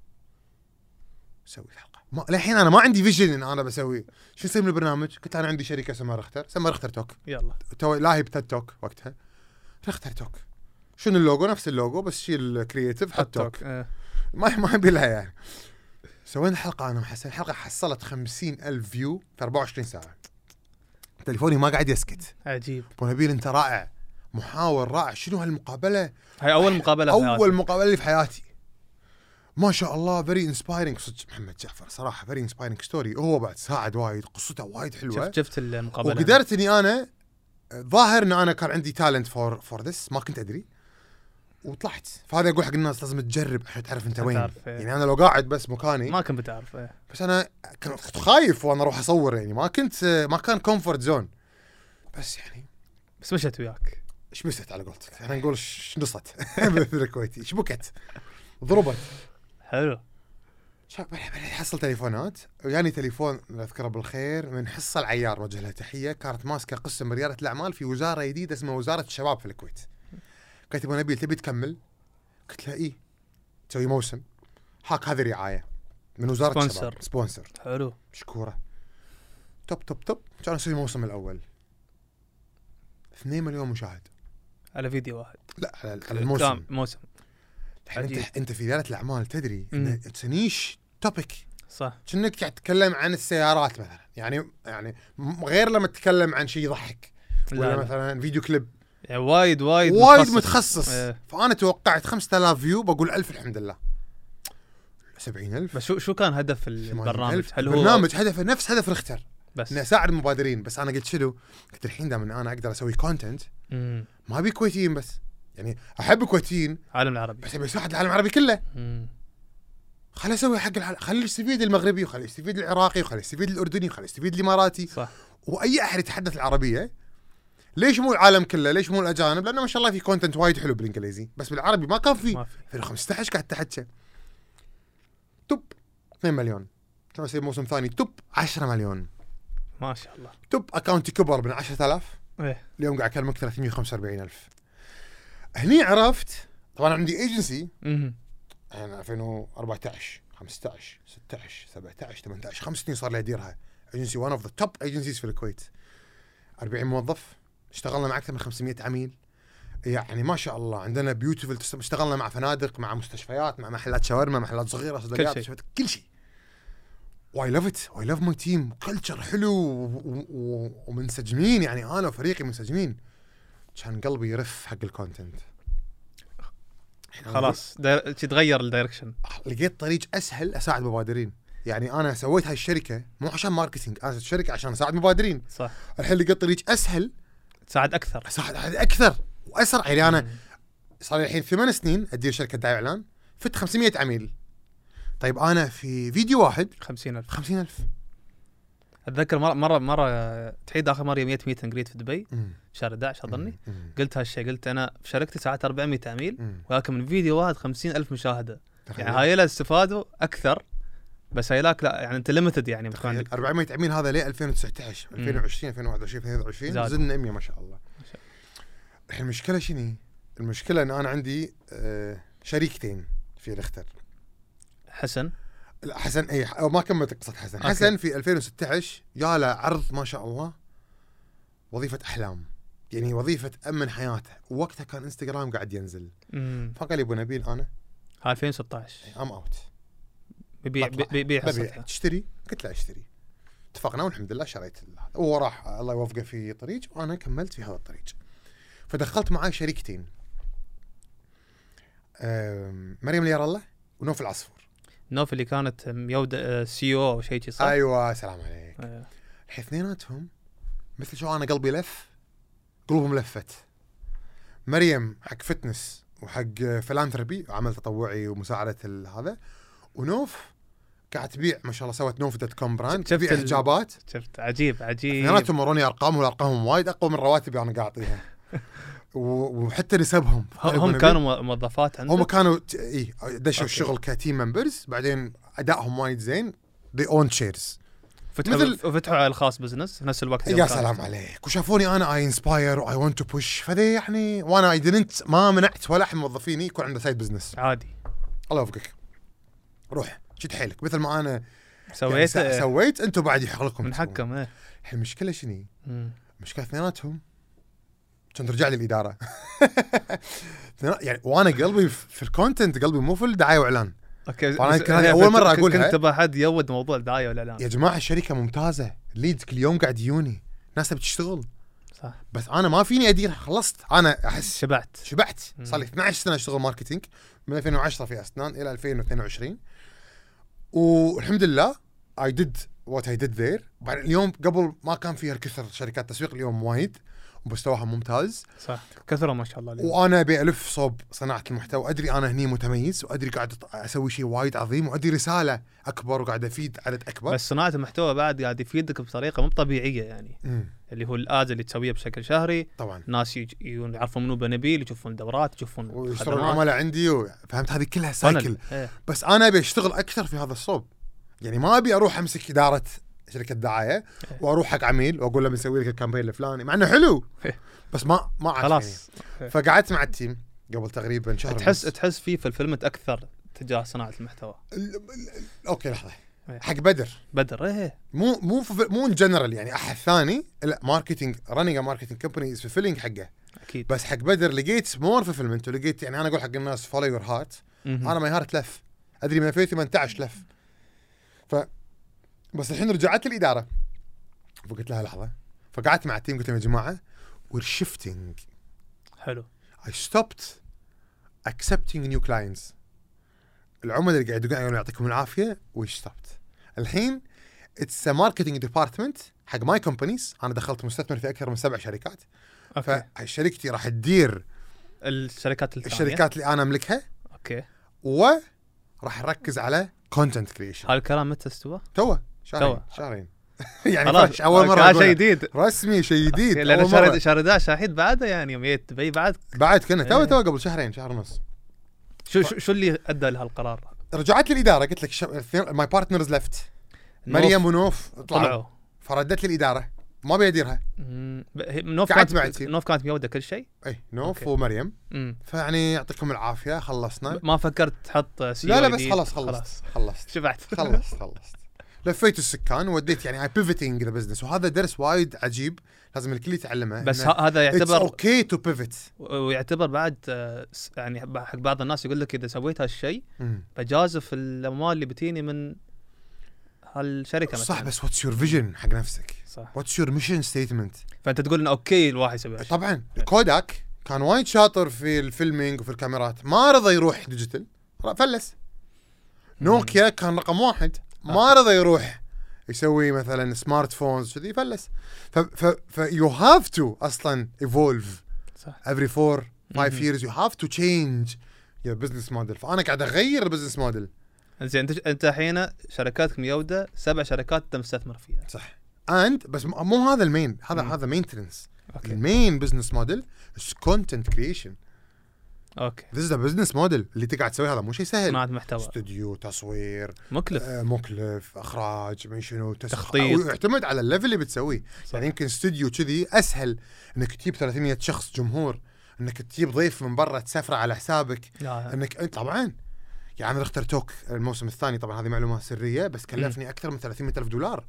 سوي الحلقه ما للحين انا ما عندي فيجن ان انا بسوي شو نسوي من البرنامج؟ قلت انا عندي شركه اسمها رختر اسمها رختر توك يلا تو لاهي بتد توك وقتها رختر توك شنو اللوجو نفس اللوجو بس شيل كرييتيف حط توك آه. ما ما يبي لها يعني سوينا حلقه انا وحسن الحلقه حصلت خمسين الف فيو في 24 ساعه تليفوني ما قاعد يسكت عجيب ابو نبيل انت رائع محاور رائع شنو هالمقابله هاي اول مقابله في اول حياتي. مقابله لي في حياتي ما شاء الله فيري انسبايرنج صدق محمد جعفر صراحه فيري انسبايرنج ستوري هو بعد ساعد وايد قصته وايد حلوه شفت شفت المقابله وقدرت اني انا ظاهر ان انا كان عندي تالنت فور فور ذس ما كنت ادري وطلعت فهذا اقول حق الناس لازم تجرب عشان تعرف انت وين تعرف، إيه. يعني انا لو قاعد بس مكاني ما كنت بتعرف إيه. بس انا كنت خايف وانا اروح اصور يعني ما كنت ما كان كومفورت زون بس يعني بس مشت وياك شبست على قولتك احنا نقول <laughs> شنصت بالكويتي شبكت ضربت حلو شوف بلح- بلح- حصل تليفونات وياني تليفون الله يذكره بالخير من حصه العيار وجه لها تحيه كانت ماسكه قسم رياده الاعمال في وزاره جديده اسمها وزاره الشباب في الكويت. قالت ابو نبيل تبي تكمل؟ قلت لها اي تسوي موسم هاك هذه رعايه من وزاره سبونسر. الشباب سبونسر حلو مشكوره توب توب توب كان اسوي الموسم الاول 2 مليون مشاهد على فيديو واحد لا على على الموسم كام- موسم الحين عجيب. انت انت في رياده الاعمال تدري مم. ان تنيش توبيك صح كأنك قاعد تتكلم عن السيارات مثلا يعني يعني م- غير لما تتكلم عن شيء يضحك لا ولا لا. مثلا فيديو كليب يعني وايد وايد وايد متخصص إيه. فانا توقعت 5000 فيو بقول 1000 الحمد لله 70000 بس شو شو كان هدف البرنامج؟ 80,000. هل هو البرنامج هدفه نفس هدف رختر بس اني اساعد المبادرين بس انا قلت شنو؟ قلت الحين دام إن انا اقدر اسوي كونتنت مم. ما ابي كويتيين بس يعني احب الكويتيين عالم العربي بس ابي اساعد العالم العربي كله مم. خليني اسوي حق العالم خلي يستفيد المغربي وخلي يستفيد <laughs> العراقي وخلي يستفيد الاردني وخلي يستفيد الاماراتي صح واي احد يتحدث العربيه ليش مو العالم كله ليش مو الاجانب لانه ما شاء الله في كونتنت وايد حلو بالانجليزي بس بالعربي ما كان في ما في 2015 قاعد تحكي توب 2 مليون كان يصير موسم ثاني توب 10 مليون ما شاء الله توب اكونتي كبر من 10000 ايه اليوم قاعد اكلمك 345000 هني عرفت طبعا عندي ايجنسي مهم. انا 2014 15 16 17 18 خمس سنين صار لي اديرها ايجنسي وان اوف ذا توب ايجنسيز في الكويت 40 موظف اشتغلنا مع اكثر من 500 عميل يعني ما شاء الله عندنا بيوتيفل اشتغلنا مع فنادق مع مستشفيات مع محلات شاورما محلات صغيره شيء. صدقات كل شيء كل شيء واي لاف ات واي لاف ماي تيم كلتشر حلو و- و- ومنسجمين يعني انا وفريقي منسجمين كان قلبي يرف حق الكونتنت خلاص داير- شي تغير الدايركشن لقيت طريق اسهل اساعد مبادرين يعني انا سويت هاي الشركه مو عشان ماركتينج انا سويت الشركه عشان اساعد مبادرين صح الحين لقيت طريق اسهل تساعد اكثر اساعد احد اكثر واسرع يعني انا مم. صار لي الحين ثمان سنين ادير شركه دعايه اعلان فت 500 عميل طيب انا في فيديو واحد 50000 50000 اتذكر مره مره مره تحيد اخر مره يوم جيت ميت جريت في دبي مم. شهر 11 اظني مم. قلت هالشيء قلت انا في شركتي ساعات 400 عميل مم. ولكن من فيديو واحد 50000 مشاهده تخيل. يعني هاي لا استفادوا اكثر بس هايلاك لا يعني انت ليمتد يعني تخيل. مكانك 400 عميل هذا ليه 2019 مم. 2020 2021 2022 زاد. زدنا 100 ما شاء الله ما شاء الحين المشكله شنو؟ المشكله ان انا عندي آه، شريكتين في الاختر حسن لا حسن اي أو ما كملت قصه حسن أوكي. حسن في 2016 يا له عرض ما شاء الله وظيفه احلام يعني وظيفه امن حياته ووقتها كان انستغرام قاعد ينزل امم فقال لي ابو نبيل انا 2016 ام اوت ببيع بطلع. ببيع ببيع حصتها تشتري قلت له اشتري اتفقنا والحمد لله شريت ال- هو راح الله يوفقه في طريق وانا كملت في هذا الطريق فدخلت معاي شريكتين أم، مريم اليار الله ونوف العصفور نوف اللي كانت آه، يودا سي او او E شيء شي صح؟ ايوه سلام عليك أيوة. الحين اثنيناتهم مثل شو انا قلبي لف قلوبهم لفت مريم حق فتنس وحق فلانثربي عمل تطوعي ومساعده ال- هذا ونوف قاعد تبيع ما شاء الله سوت نوف دوت كوم براند شفت تبيع ال- إيه. حجابات شفت عجيب عجيب اثنيناتهم وروني ارقام والارقام وايد اقوى من رواتبي انا قاعد اعطيها <laughs> و- وحتى نسبهم هم- هم كانوا مو- موظفات عندك هم كانوا ت- اي دشوا أوكي. الشغل كتيم ممبرز بعدين ادائهم وايد زين they own shares فتحوا مثل- فتحوا الخاص بزنس في نفس الوقت يا يوم كان- سلام عليك وشافوني انا اي انسباير واي ونت تو بوش فذي يعني وانا اي دنت ما منعت ولا احد من موظفيني يكون عنده سايد بزنس عادي الله يوفقك روح شد حيلك مثل ما انا يعني سويت س- سويت انتم بعد يحق لكم من تسوون. حكم ايه الحين المشكله شنو؟ مم. المشكله اثنيناتهم كان رجع لي الاداره <laughs> اثنين- يعني وانا قلبي في في الكونتنت قلبي مو في الدعايه واعلان اوكي فأنا بس- يمكن هذه إيه، أول فت- مرة كنت- أقولها. كنت بحد يود موضوع الدعايه والاعلان يا جماعه الشركه ممتازه ليدز كل يوم قاعد يجوني ناس بتشتغل صح بس انا ما فيني اديرها خلصت انا احس شبعت شبعت مم. صار لي 12 سنه اشتغل ماركتينج من 2010 في اسنان الى 2022 والحمد لله اي ديد وات اي ديد ذير اليوم قبل ما كان في هالكثر شركات تسويق اليوم وايد ومستواها ممتاز صح كثروا ما شاء الله اليوم. وانا ابي الف صوب صناعه المحتوى ادري انا هني متميز وادري قاعد أط- اسوي شيء وايد عظيم وادري رساله اكبر وقاعد افيد عدد اكبر بس صناعه المحتوى بعد قاعد يفيدك بطريقه مو طبيعيه يعني مم، اللي هو الادز اللي تسويه بشكل شهري طبعا ناس يج- يجون يعرفون منو بنبيل يشوفون دورات يشوفون ويشتغل خدمات العملاء عندي فهمت هذه كلها سايكل فنل. إيه. بس انا ابي اشتغل اكثر في هذا الصوب يعني ما ابي اروح امسك اداره شركه دعايه واروح حق عميل واقول له بنسوي لك الكامبين الفلاني مع انه حلو إيه. بس ما ما عاد خلاص فيني. فقعدت مع التيم قبل تقريبا شهر تحس ونص. تحس في فلفلمنت اكثر تجاه صناعه المحتوى ال- ال- ال- اوكي لحظه إيه. حق بدر بدر ايه مو مو ف- مو الجنرال يعني احد ثاني لا ماركتنج رننج ماركتنج كمباني از فيلينج حقه اكيد بس حق بدر لقيت مور فيلمنت ولقيت يعني انا اقول حق الناس فولو يور هارت مهم. انا ماي هارت لف ادري من 2018 لف ف بس الحين رجعت الاداره فقلت لها لحظه فقعدت مع التيم قلت لهم يا جماعه we're shifting حلو I stopped accepting new clients العملاء اللي قاعد يقولون يعطيكم العافيه we stopped الحين it's a marketing department حق ماي كومبانيز انا دخلت مستثمر في اكثر من سبع شركات اوكي فشركتي راح تدير الشركات الثانيه الشركات اللي انا املكها اوكي وراح اركز على كونتنت كريشن هالكلام متى استوى؟ توه شهرين توه. شهرين <laughs> يعني خلاص فرش اول مره كان أقولها. شيء جديد رسمي شيء جديد لان أول شهر مرة. شهر 11 شاهد بعده يعني يوم جيت دبي بعد بعد كنا تو إيه. تو قبل شهرين شهر ونص شو شو, شو اللي ادى لهالقرار؟ رجعت لي الاداره قلت لك ماي بارتنرز ليفت مريم ونوف طلعوا طلعوا فردت لي الاداره ما بيديرها مم. ب- هي- نوف قعدت كانت مع التيم. نوف كانت ميوده كل شيء اي إيه، نوف أوكي. ومريم مم. فيعني يعطيكم العافيه خلصنا ما فكرت تحط سي أه. لا لا أو بس دي؟ خلاص <laughs> خلصت خلصت <laughs> شبعت خلصت خلصت لفيت السكان ووديت يعني هاي بيفتنج ذا بزنس وهذا درس وايد عجيب لازم الكل يتعلمه <laughs> بس ه- هذا يعتبر اوكي تو بيفت ويعتبر بعد آه، س- يعني حق بعض الناس يقول لك اذا سويت هالشيء بجازف الاموال اللي بتيني من هالشركه مثلا صح بس واتس يور فيجن حق نفسك صح واتس يور ميشن ستيتمنت فانت تقول انه اوكي الواحد يسوي هالشيء طبعا كوداك كان وايد شاطر في الفيلمينج وفي الكاميرات ما رضى يروح ديجيتال فلس نوكيا كان رقم واحد ما رضى يروح يسوي مثلا سمارت فونز كذي فلس ف ف ف يو هاف تو اصلا ايفولف صح افري فور فايف مم. ييرز يو هاف تو تشينج يور بزنس موديل فانا قاعد اغير البزنس موديل زين انت انت الحين شركاتك ميوده سبع شركات انت مستثمر فيها صح اند بس م- مو هذا المين هذا مم. هذا مينتننس اوكي المين بزنس موديل كونتنت كريشن اوكي ذيس ذا بزنس موديل اللي انت قاعد تسويه هذا مو شيء سهل صناعه محتوى استوديو تصوير مكلف آه، مكلف اخراج من شنو تسخ- تخطيط. أو يعتمد على الليفل اللي بتسويه صح. يعني يمكن استوديو كذي اسهل انك تجيب 300 شخص جمهور انك تجيب ضيف من برا تسافره على حسابك لا انك أنت- طبعا يا عامر اختر توك يعني الموسم الثاني طبعا هذه معلومه سريه بس كلفني اكثر من 300 الف دولار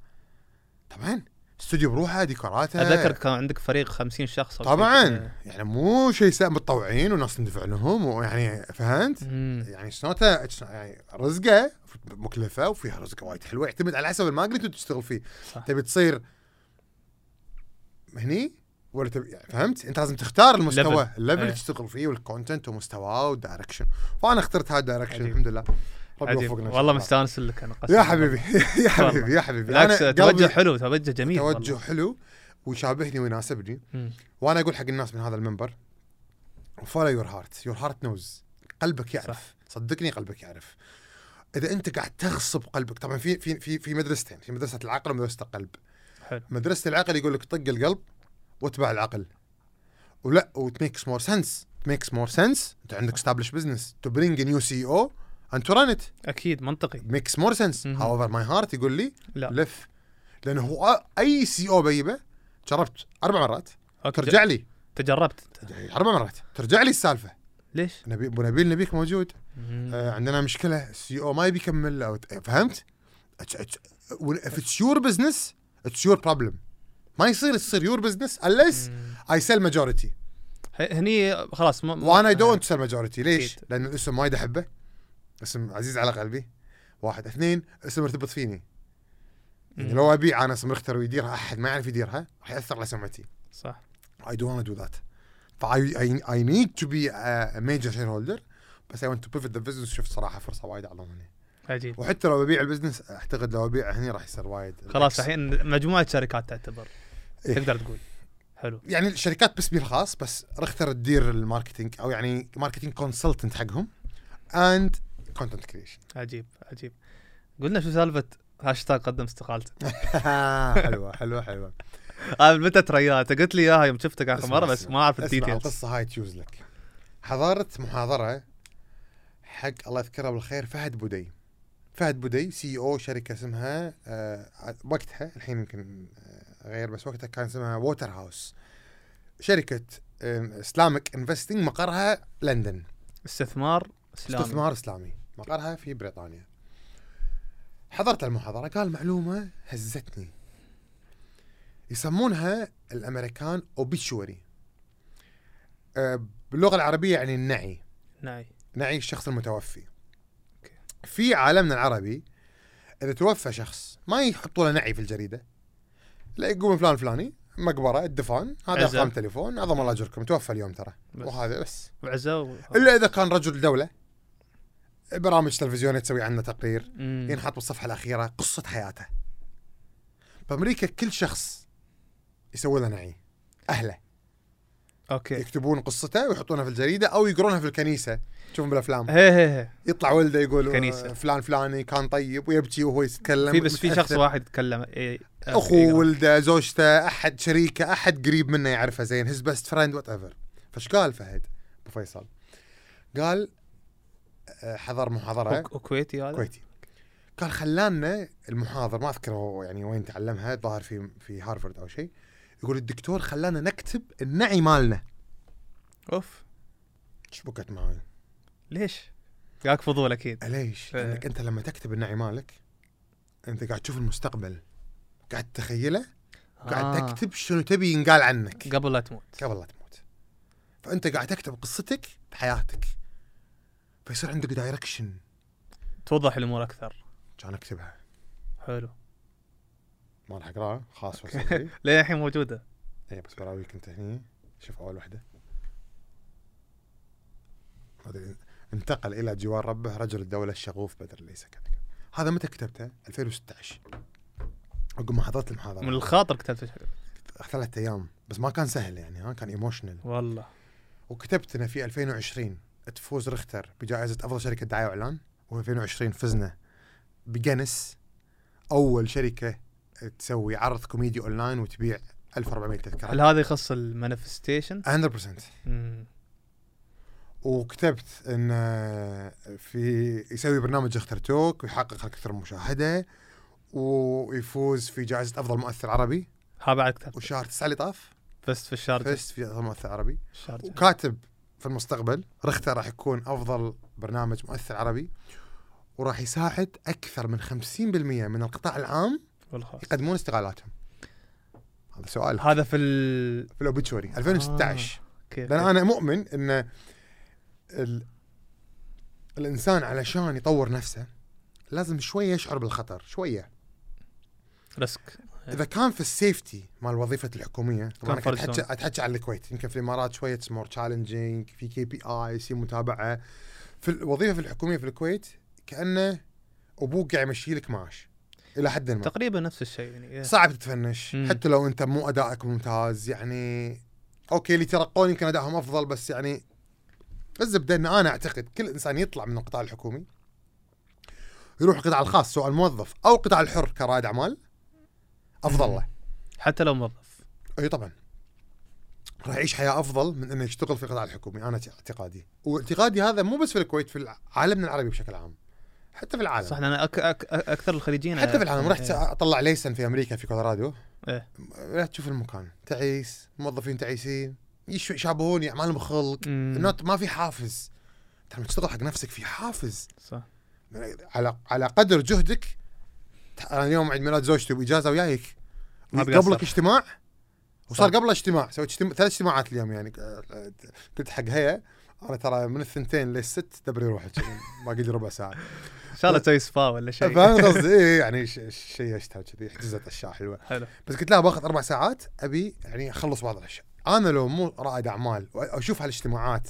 طبعا استوديو بروحه ديكوراته اتذكر كان عندك فريق 50 شخص أو شيء طبعا كذا. يعني مو شيء سهل متطوعين وناس ندفع لهم ويعني فهمت؟ مم. يعني سنوته يعني رزقه مكلفه وفيها رزقه وايد حلوه يعتمد على حسب الماركت اللي تشتغل فيه صح. تبي تصير هني ولا تبي يعني فهمت انت لازم تختار المستوى Level. الليفل اللي إيه. تشتغل فيه والكونتنت ومستواه والدايركشن فانا اخترت هذا الدايركشن عجيب. الحمد لله ربي عجيب طيب، وفقنا والله مستانس لك انا قسماً. يا حبيبي <laughs> يا حبيبي يا حبيبي بالعكس توجه قلبي حلو توجه جميل والله. توجه حلو ويشابهني ويناسبني مم. وانا اقول حق الناس من هذا المنبر فولو يور هارت يور هارت نوز قلبك يعرف صح. صح. صدقني قلبك يعرف اذا انت قاعد تغصب قلبك طبعا في في في في مدرستين في مدرسه العقل ومدرسه القلب حلو مدرسه العقل يقول لك طق القلب واتبع العقل ولا وتميكس مور سنس ميكس مور سنس انت عندك استابلش بزنس تو برينج نيو سي او اند تو ران ات اكيد منطقي ميكس مور سنس مهم. هاوفر ماي هارت يقول لي لا. لف لانه هو اي سي او بيبه جربت اربع مرات اوكي ج- ترجع لي تجربت انت اربع مرات ترجع لي السالفه ليش؟ نبي ابو نبيل نبيك موجود مم. آه عندنا مشكله السي او ما يبي يكمل أو ت- فهمت؟ اف اتس يور بزنس اتس يور بروبلم ما يصير تصير يور بزنس unless مم. اي سيل ماجورتي ه- هني خلاص ما ما- وانا اي دونت سيل ماجورتي ليش؟ أكيد. لان الاسم وايد احبه اسم عزيز على قلبي واحد اثنين اسم مرتبط فيني يعني مم. لو ابيع انا اسم مختر ويديرها احد ما يعرف يديرها راح ياثر على سمعتي صح I don't want to do that. فاي I, I need to be a, a major shareholder بس I want to pivot the business شفت صراحه فرصه وايد اعظم هنا عجيب وحتى لو ببيع البزنس اعتقد لو ببيع هني راح يصير وايد خلاص العكس. الحين مجموعه شركات تعتبر إيه. تقدر تقول حلو يعني الشركات باسمي الخاص بس رختر تدير الماركتينج او يعني ماركتينج كونسلتنت حقهم اند كونتنت كريشن عجيب عجيب قلنا شو سالفه هاشتاج قدم استقالته حلوه حلوه حلوه هذا آه، متى ترياه انت قلت لي اياها يوم شفتك اخر اسمع، مره بس اسمع. ما اعرف اسمع الديتيلز القصه هاي تجوز لك حضرت محاضره حق الله يذكره بالخير فهد بودي فهد بودي سي او شركه اسمها آه وقتها الحين يمكن آه غير بس وقتها كان اسمها ووتر هاوس شركه اسلامك انفستنج مقرها لندن استثمار اسلامي استثمار استثمار اسلامي مقرها في بريطانيا حضرت المحاضره قال معلومه هزتني يسمونها الامريكان اوبيشوري باللغه العربيه آه، يعني النعي نعي نعي الشخص المتوفي أوكي. في عالمنا العربي اذا توفى شخص ما يحطوا له نعي في الجريده لا يقوم فلان فلاني مقبره الدفان هذا عزاء. رقم تليفون عظم الله اجركم توفى اليوم ترى بس. وهذا بس وعزه و... الا اذا كان رجل دوله برامج تلفزيونيه تسوي عنه تقرير مم. ينحط بالصفحه الاخيره قصه حياته بامريكا كل شخص يسوي له نعي اهله اوكي يكتبون قصته ويحطونها في الجريده او يقرونها في الكنيسه تشوفون بالافلام هي هي يطلع ولده يقول أه. كنيسة. آه، فلان فلاني كان طيب ويبكي وهو هي يتكلم في بس في شخص متأثر. واحد تكلم إيه، اخوه ولده زوجته احد شريكه احد قريب منه يعرفه زين هيز بيست فريند وات ايفر فايش قال فهد ابو فيصل؟ قال آه، حضر محاضره وك- وكويتي هذا كويتي قال خلانا المحاضر ما اذكر هو يعني وين تعلمها ظاهر في في هارفرد او شيء يقول الدكتور خلانا نكتب النعي مالنا اوف شبكت معي ليش؟ جاك فضول اكيد ليش؟ إيه. لانك انت لما تكتب النعي مالك انت قاعد تشوف المستقبل قاعد تتخيله قاعد آه، تكتب شنو تبي ينقال عنك قبل لا تموت قبل لا تموت فانت قاعد تكتب قصتك بحياتك فيصير عندك دايركشن توضح الامور اكثر كان اكتبها حلو ما راح اقراها خاص وصل لي <laughs> ليه الحين موجوده اي إيه، بس براويك انت هني شوف اول وحده ما أدري، انتقل الى جوار ربه رجل الدوله الشغوف بدر ليس كذلك هذا متى كتبته؟ 2016 عقب ما حضرت من المحاضره الخاطر كتبت شكل. ثلاث ايام بس ما كان سهل يعني ها كان ايموشنال والله وكتبت انه في 2020 تفوز رختر بجائزه افضل شركه دعايه واعلان و2020 فزنا بجنس اول شركه تسوي عرض كوميدي اونلاين وتبيع 1400 هل تذكره هذا يخص المانيفستيشن؟ 100% مم. وكتبت ان في يسوي برنامج اخترتوك ويحقق اكثر مشاهده ويفوز في جائزه افضل مؤثر عربي ها بعد كتبت وشهر 9 اللي طاف فزت في الشارجة فزت في افضل مؤثر عربي الشارجة وكاتب في المستقبل رختر راح يكون افضل برنامج مؤثر عربي وراح يساعد اكثر من 50% من القطاع العام والخاص يقدمون استقالاتهم هذا سؤال هذا في ال في الاوبتشوري 2016 اوكي لان انا مؤمن ان ال... الانسان علشان يطور نفسه لازم شويه يشعر بالخطر شويه ريسك اذا كان في السيفتي مال وظيفه الحكوميه طبعا comfort اتحكى zone. اتحكى عن الكويت يمكن في الامارات شويه مور تشالنجينج في كي بي ايز في متابعه في الوظيفه في الحكوميه في الكويت كانه ابوك قاعد يمشي لك معاش الى حد ما تقريبا نفس الشيء يعني إيه. صعب تتفنش مم. حتى لو انت مو ادائك ممتاز يعني اوكي اللي ترقون يمكن ادائهم افضل بس يعني الزبده ان انا اعتقد كل انسان يطلع من القطاع الحكومي يروح القطاع الخاص سواء موظف او القطاع الحر كرائد اعمال افضل له حتى لو موظف اي طبعا راح يعيش حياه افضل من انه يشتغل في القطاع الحكومي انا اعتقادي واعتقادي هذا مو بس في الكويت في عالمنا العربي بشكل عام حتى في العالم صح انا أك... أك... أك... اكثر الخليجيين حتى في العالم رحت إيه. اطلع ليسن في امريكا في كولورادو إيه. لا تشوف المكان تعيس موظفين تعيسين يش- يشابهون اعمالهم خلق مم. نوت ما في حافز ترى لما تشتغل حق نفسك في حافز صح على على قدر جهدك ت- انا اليوم عيد ميلاد زوجتي باجازه وياك ما بيقصر. قبلك اجتماع وصار صح. قبله اجتماع سويت اجتماع ثلاث اجتماعات اليوم يعني قلت حق هيا انا ترى من الثنتين للست دبري روحك <laughs> باقي لي ربع ساعه ان شاء الله تسوي سبا ولا شيء فاهم قصدي إيه، يعني ش- شيء اشتهى كذي حجزت اشياء حلوه <laughs> حلو بس قلت لها باخذ اربع ساعات ابي يعني اخلص بعض الاشياء انا لو مو رائد اعمال واشوف هالاجتماعات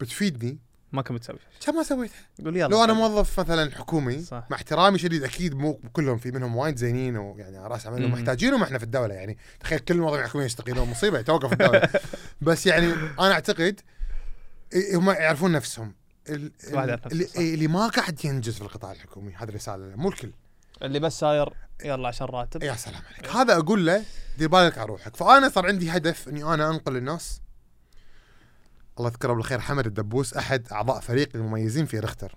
بتفيدني ما كنت بتسوي شيء كم ما سويتها قول يلا لو انا موظف مثلا حكومي صح. مع احترامي شديد اكيد مو كلهم في منهم وايد زينين ويعني راس عملهم مم. محتاجينهم احنا في الدوله يعني تخيل كل المواضيع الحكوميه يستقيلون مصيبه <laughs> توقف الدوله بس يعني انا اعتقد إيه، هم يعرفون نفسهم ال- واحد يعرف ال- نفسه، اللي, صح. اللي ما قاعد ينجز في القطاع الحكومي هذه رساله مو الكل اللي بس ساير يلا عشان راتب يا سلام عليك هذا اقول له دير بالك على روحك فانا صار عندي هدف اني انا انقل الناس الله يذكره بالخير حمد الدبوس احد اعضاء فريق المميزين في رختر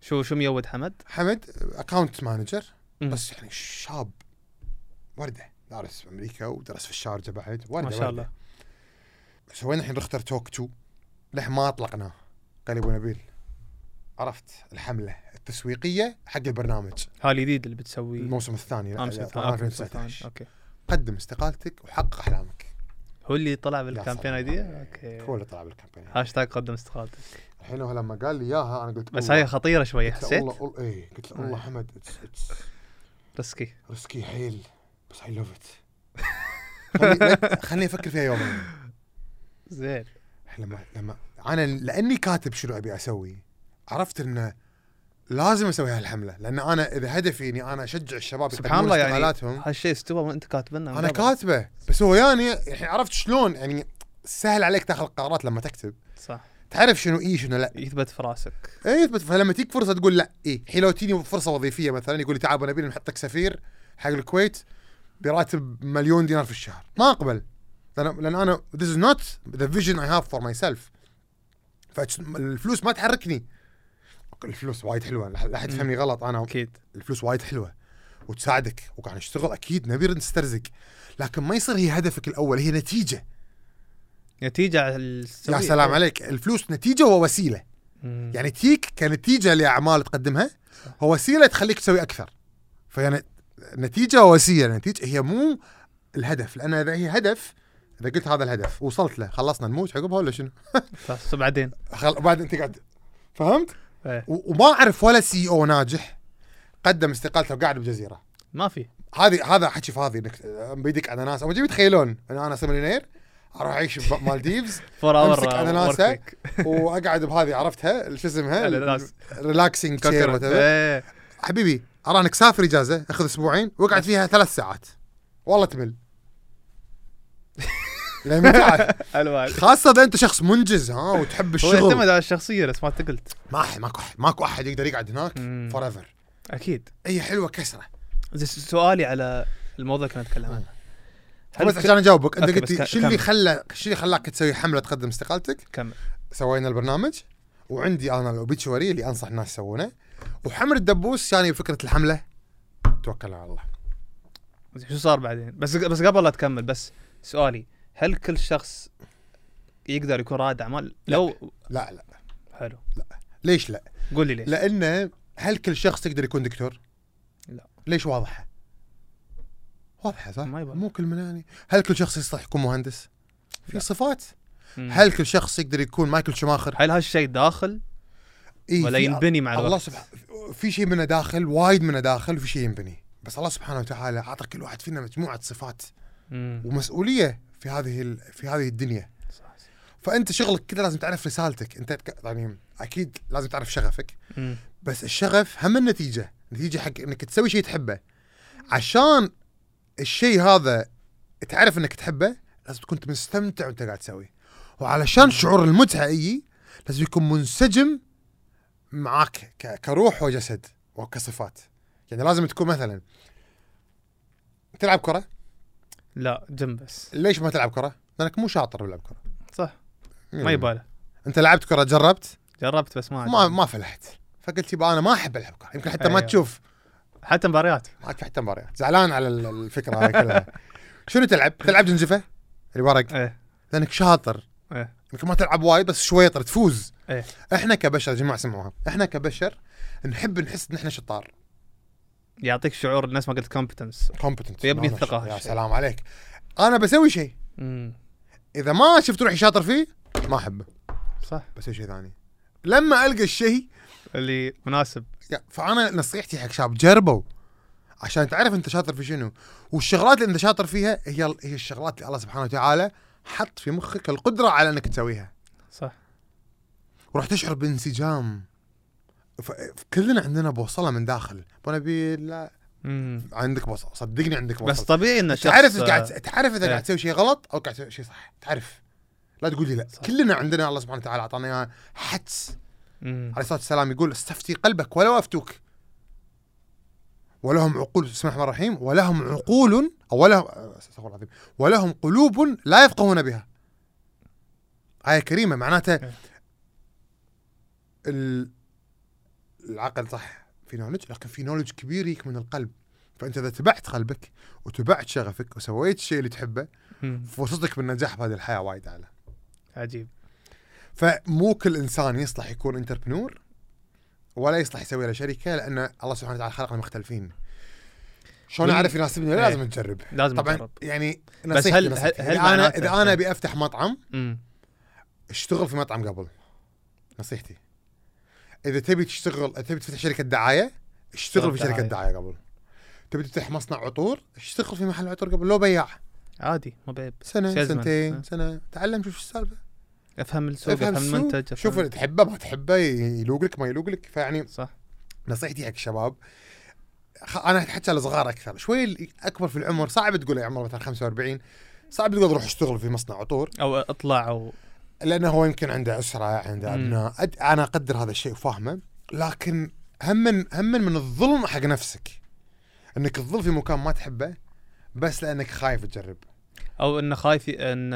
شو شو ميود حمد؟ حمد اكاونت مانجر مم. بس يعني شاب ورده دارس في امريكا ودرس في الشارجه بعد ورده ما شاء وردة. الله سوينا الحين رختر توك 2 لح ما اطلقناه قال ابو نبيل عرفت الحمله التسويقيه حق البرنامج هذا الجديد اللي بتسويه الموسم الثاني لا، امس لا، الثاني. أوكي، إيه. أمس 2019. الثاني. اوكي قدم استقالتك وحقق احلامك هو اللي طلع بالكامبين بالكامبين ايديا اوكي هو اللي طلع بالكامبين هاشتاج قدم استقالتك الحين هو لما قال لي اياها انا قلت بس الله. هاي خطيره شويه قلت له حسيت والله والله اي قلت له والله حمد it's- it's ريسكي ريسكي حيل بس اي لاف <laughs> ات خليني افكر فيها يومين زين لما لما انا لاني كاتب شنو ابي اسوي عرفت انه لازم اسوي هالحمله لان انا اذا هدفي اني انا اشجع الشباب سبحان الله يعني استقالاتهم هالشيء استوى وانت كاتبنا من انا قبل. كاتبه بس هو يعني الحين عرفت شلون يعني سهل عليك تاخذ قرارات لما تكتب صح تعرف شنو اي شنو لا يثبت في راسك اي إيه، يثبت فلما تيك فرصه تقول لا إيه، اي الحين لو تجيني فرصه وظيفيه مثلا يقول لي تعال ابو نبيل نحطك سفير حق الكويت براتب مليون دينار في الشهر ما اقبل لان لان انا this is not the vision I have for myself فالفلوس ما تحركني الفلوس وايد حلوه لا لا حد يفهمني غلط انا اكيد الفلوس وايد حلوه وتساعدك وقاعد نشتغل اكيد نبي نسترزق لكن ما يصير هي هدفك الاول هي نتيجه نتيجه على السوية. يا سلام عليك الفلوس نتيجه ووسيله مم. يعني تجيك كنتيجه لاعمال تقدمها ووسيله تخليك تسوي اكثر فيعني نتيجه ووسيله نتيجه هي مو الهدف لان اذا هي هدف اذا قلت هذا الهدف وصلت له خلصنا نموت عقبها ولا شنو؟ بس بعدين خل... بعد انت قاعد فهمت؟ إيه. و... وما اعرف ولا سي او ناجح قدم استقالته وقاعد بجزيره ما في هذه هذا حكي فاضي انك بيدك اناناس او جيب تخيلون ان انا اصير مليونير اروح اعيش بمالديفز فور أمسك أناناسة. واقعد بهذه عرفتها شو اسمها؟ الأناناس. ريلاكسنج تشير إيه، حبيبي ارانك سافر اجازه اخذ اسبوعين واقعد فيها ثلاث ساعات والله <laughs> تمل لأن متعة. الوان خاصه اذا انت شخص منجز ها وتحب هو الشغل يعتمد على الشخصيه بس ما أنت قلت ما أح- ماكو أح- ماكو احد يقدر يقعد هناك مم. فور ايفر اكيد اي حلوه كسره زي س- سؤالي على الموضوع اللي كنا نتكلم عنه هل بس ك- عشان اجاوبك انت أوكي، قلت بس لي ك- شو اللي كمل. خلى شو اللي خلاك تسوي حمله تقدم استقالتك كمل سوينا البرنامج وعندي انا الاوبيتشواري اللي انصح الناس يسوونه وحمر الدبوس يعني فكره الحمله توكل على الله زين، شو صار بعدين بس بس قبل لا تكمل بس سؤالي هل كل شخص يقدر يكون رائد اعمال لو لا لا حلو ليش لا؟ قول لي ليش لانه هل كل شخص يقدر يكون دكتور؟ لا. ليش واضحه؟ واضحه صح؟ ما يبغى. مو كل من يعني هل كل شخص يصلح يكون مهندس؟ في لا. صفات مم. هل كل شخص يقدر يكون مايكل شماخر؟ هل هالشيء داخل إيه ولا في- ينبني مع الله الوقت سبحانه في شيء منه داخل وايد منه داخل وفي شيء ينبني بس الله سبحانه وتعالى اعطى كل واحد فينا مجموعه صفات مم. ومسؤوليه في هذه ال- في هذه الدنيا صح. فانت شغلك كذا لازم تعرف رسالتك انت تك- يعني اكيد لازم تعرف شغفك مم. بس الشغف هم النتيجه النتيجه حق انك تسوي شيء تحبه عشان الشيء هذا تعرف انك تحبه لازم تكون أنت مستمتع وانت قاعد تسويه وعلشان شعور المتعه يجي لازم يكون منسجم معاك ك- كروح وجسد وكصفات يعني لازم تكون مثلا تلعب كره لا جم بس ليش ما تلعب كره لانك مو شاطر بلعب كره صح ما يباله انت لعبت كره جربت جربت بس ما ما عجبني. ما فلحت فقلت يبقى انا ما احب العب كره يمكن حتى ما أيوه. تشوف حتى مباريات معك حتى مباريات زعلان على ال- الفكره <laughs> هاي كلها شنو تلعب؟ تلعب جنزفه اللي ورق ايه لانك شاطر إيه. يمكن ما تلعب وايد بس شويطر تفوز إيه. احنا كبشر يا جماعه سمعوها احنا كبشر نحب نحس ان احنا شطار يعطيك شعور الناس ما قلت كومبتنس كومبتنت يبني الثقة نعم. يا هالشيء. سلام عليك انا بسوي شيء اذا ما شفت روحي شاطر فيه ما احبه صح بسوي شيء ثاني لما القى الشيء اللي مناسب يا- فانا نصيحتي حق شاب جربوا عشان تعرف انت شاطر في شنو والشغلات اللي انت شاطر فيها هي هي الشغلات اللي الله سبحانه وتعالى حط في مخك القدره على انك تسويها صح وراح تشعر بانسجام ف- ف- كلنا عندنا بوصله من داخل ابو نبيل لا مم. عندك بوصله صدقني عندك بس بوصله طبيعي ان بس الشخص تعرف اذا آه، قاعد تعرف اذا إيه. قاعد تسوي شيء غلط او قاعد تسوي شيء صح تعرف لا تقول لي لا صح. كلنا عندنا الله سبحانه وتعالى اعطانا اياها حدس مم. عليه الصلاه والسلام يقول استفتي قلبك ولا افتوك ولهم عقول بسم الله الرحمن الرحيم ولهم عقول او ولهم استغفر الله العظيم ولهم قلوب لا يفقهون بها آية كريمة معناتها إيه. ال- العقل صح في نولج لكن في نولج كبير يجيك من القلب فأنت إذا تبعت قلبك وتبعت شغفك وسويت الشيء اللي تحبه مم. فرصتك بالنجاح بهذه الحياة وايد أعلى عجيب فمو كل انسان يصلح يكون انتربنور ولا يصلح يسوي له شركه لان الله سبحانه وتعالى خلقنا مختلفين. شلون وال- اعرف يناسبني إيه. ولا لازم تجرب لازم طبعا أجرب. يعني بس نصيحتي هل- نصيحتي. هل- هل اذا انا معناته- اذا انا إيه. ابي افتح مطعم مم. اشتغل في مطعم قبل نصيحتي اذا تبي تشتغل تبي تفتح شركه دعايه اشتغل في دعاية. شركه دعايه قبل تبي تفتح مصنع عطور اشتغل في محل عطور قبل لو بياع عادي مو بعيب سنه Salesman. سنتين إيه. سنه تعلم شوف شو السالفه افهم السوق افهم افهم السوق، المنتج أفهم- شوف اللي تحبه ما تحبه يلوق لك ما يلوق لك فيعني صح نصيحتي حق الشباب خ- انا احكي على الصغار اكثر شوي اللي اكبر في العمر صعب تقول يا عمر مثلا 45 صعب تقول روح اشتغل في مصنع عطور او اطلع او لانه هو يمكن عنده اسره عنده مم. ابناء أد... انا اقدر هذا الشيء وفاهمه لكن هم من هم من الظلم حق نفسك انك تظل في مكان ما تحبه بس لانك خايف تجرب او انه خايف ي- ان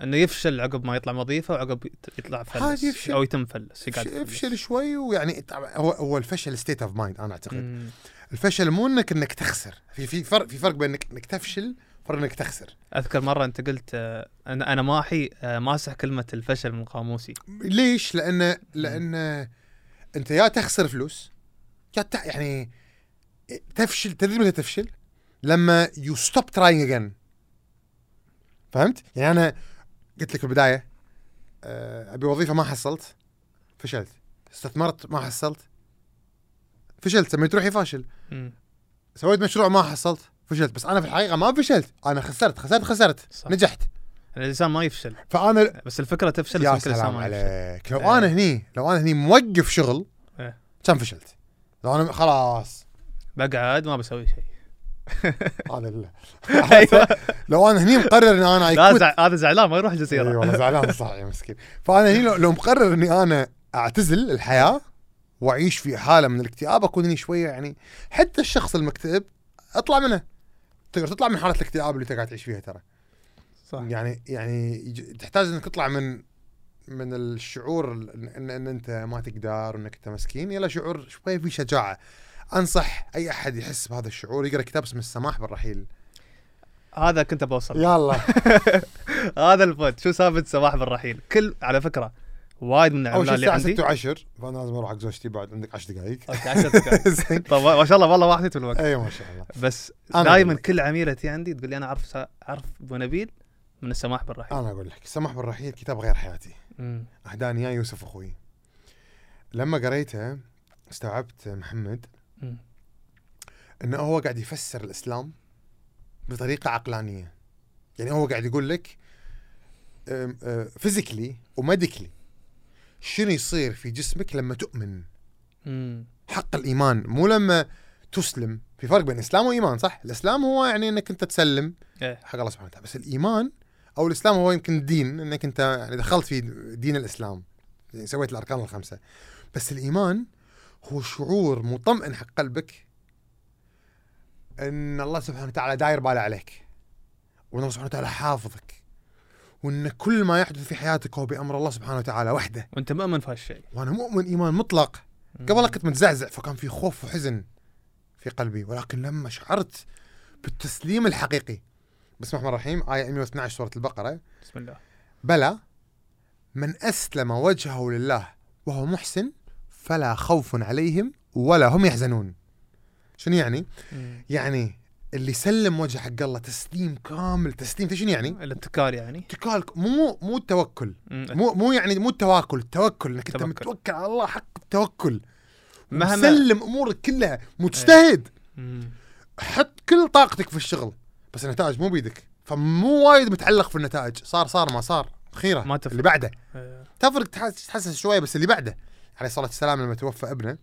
انه يفشل عقب ما يطلع وظيفه وعقب يت- يطلع عادي فلس يفشل. او يتم فلس يقعد فلس. افشل شوي ويعني طبعا هو هو الفشل ستيت اوف مايند انا اعتقد مم. الفشل مو انك انك تخسر في في فرق في فرق بين انك انك تفشل وفرق انك تخسر اذكر مره انت قلت آه، انا انا ماحي آه، ماسح كلمه الفشل من قاموسي ليش؟ لان لان انت يا تخسر فلوس يا تع... يعني تفشل تدري متى تفشل؟ لما يو ستوب تراينج اجين فهمت؟ يعني انا قلت لك في البدايه آه، ابي وظيفه ما حصلت فشلت استثمرت ما حصلت فشلت سميت روحي فاشل مم. سويت مشروع ما حصلت فشلت بس انا في الحقيقه ما فشلت انا خسرت خسرت خسرت صح. نجحت الانسان ما يفشل فانا بس الفكره تفشل يا بس يمكن الإنسان سلام ما يفشل. عليك لو إيه. انا هني لو انا هني موقف شغل إيه. كان فشلت لو انا خلاص بقعد ما بسوي <laughs> شيء <laughs> هذا ال- أيوة. لو انا هني مقرر اني انا لا ايكوت زع... هذا زعلان ما يروح اي الجزيره والله زعلان صح يا مسكين فانا هني لو, لو مقرر اني انا اعتزل الحياه واعيش في حاله من الاكتئاب اكون هني شويه يعني حتى الشخص المكتئب اطلع منه تقدر تطلع من حاله الاكتئاب اللي انت قاعد تعيش فيها ترى صح يعني يعني يج- تحتاج انك تطلع من من الشعور ال- ان, إن انت ما تقدر وانك انت مسكين الى شعور شوي في شجاعه انصح اي احد يحس بهذا الشعور يقرا كتاب اسمه السماح بالرحيل هذا كنت بوصل يلا هذا البوت شو سالفه صباح بالرحيل كل على فكره وايد من اول العملاء شيء اللي الساعه عندي 6 و10 فانا لازم اروح حق زوجتي بعد عندك 10 دقائق اوكي 10 <laughs> دقائق زين طب طيب، ما شاء الله والله ما اعطيته الوقت ايوه ما شاء الله بس أنا دائما أقول لك. كل عميلتي عندي تقول لي انا اعرف سا- اعرف بونبيل من السماح بالرحيل انا اقول لك السماح بالرحيل كتاب غير حياتي مم. اهداني اياه يوسف اخوي لما قريته استوعبت محمد مم. انه هو قاعد يفسر الاسلام بطريقه عقلانيه يعني هو قاعد يقول لك فيزيكلي وميديكلي شنو يصير في جسمك لما تؤمن مم. حق الايمان مو لما تسلم في فرق بين الاسلام وايمان صح الاسلام هو يعني انك انت تسلم إيه. حق الله سبحانه وتعالى بس الايمان او الاسلام هو يمكن دين انك انت يعني دخلت في دين الاسلام يعني سويت الاركان الخمسه بس الايمان هو شعور مطمئن حق قلبك ان الله سبحانه وتعالى داير باله عليك وان الله سبحانه وتعالى حافظك وان كل ما يحدث في حياتك هو بامر الله سبحانه وتعالى وحده وانت مؤمن في هالشيء وانا مؤمن ايمان مطلق مم. قبل كنت متزعزع فكان في خوف وحزن في قلبي ولكن لما شعرت بالتسليم الحقيقي بسم الله الرحمن الرحيم آية 112 سورة البقرة بسم الله بلى من أسلم وجهه لله وهو محسن فلا خوف عليهم ولا هم يحزنون شنو يعني؟ مم. يعني اللي سلم وجهه حق الله تسليم كامل تسليم شنو يعني؟ الاتكال يعني اتكال مو مو التوكل مم. مو مو يعني مو التواكل التوكل انك انت توكل. متوكل على الله حق التوكل مهما- مهما سلم امورك كلها مجتهد مم. حط كل طاقتك في الشغل بس النتائج مو بيدك فمو وايد متعلق في النتائج صار صار ما صار خيره ما تفرق. اللي بعده إيه. تفرق تحس- تحسس شويه بس اللي بعده عليه الصلاه والسلام لما توفى ابنه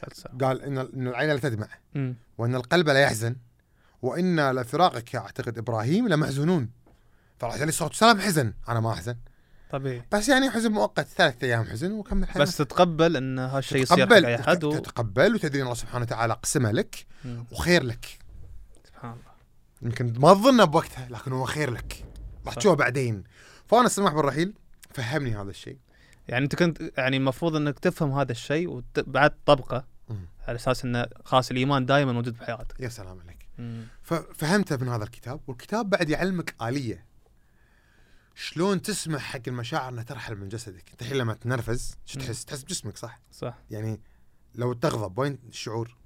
سلسة. قال ان ان العين لا تدمع مم. وان القلب لا يحزن وانا لفراقك يا اعتقد ابراهيم لمحزونون فراح عليه الصلاه والسلام حزن انا ما احزن طبيعي بس يعني حزن مؤقت ثلاثة ايام حزن وكمل حياتك بس تتقبل ان هالشيء يصير حق تقبل اي احد و... تتقبل وتدري ان الله سبحانه وتعالى قسمه لك مم. وخير لك سبحان الله يمكن ما تظنه بوقتها لكن هو خير لك راح صح. تشوفه بعدين فانا السماح بالرحيل فهمني هذا الشيء يعني انت كنت يعني المفروض انك تفهم هذا الشيء وبعد طبقه مم. على اساس انه خلاص الايمان دائما موجود بحياتك يا سلام عليك مم. ففهمته من هذا الكتاب والكتاب بعد يعلمك آلية شلون تسمح حق المشاعر انها ترحل من جسدك انت الحين لما تنرفز شو مم. تحس تحس بجسمك صح صح يعني لو تغضب وين الشعور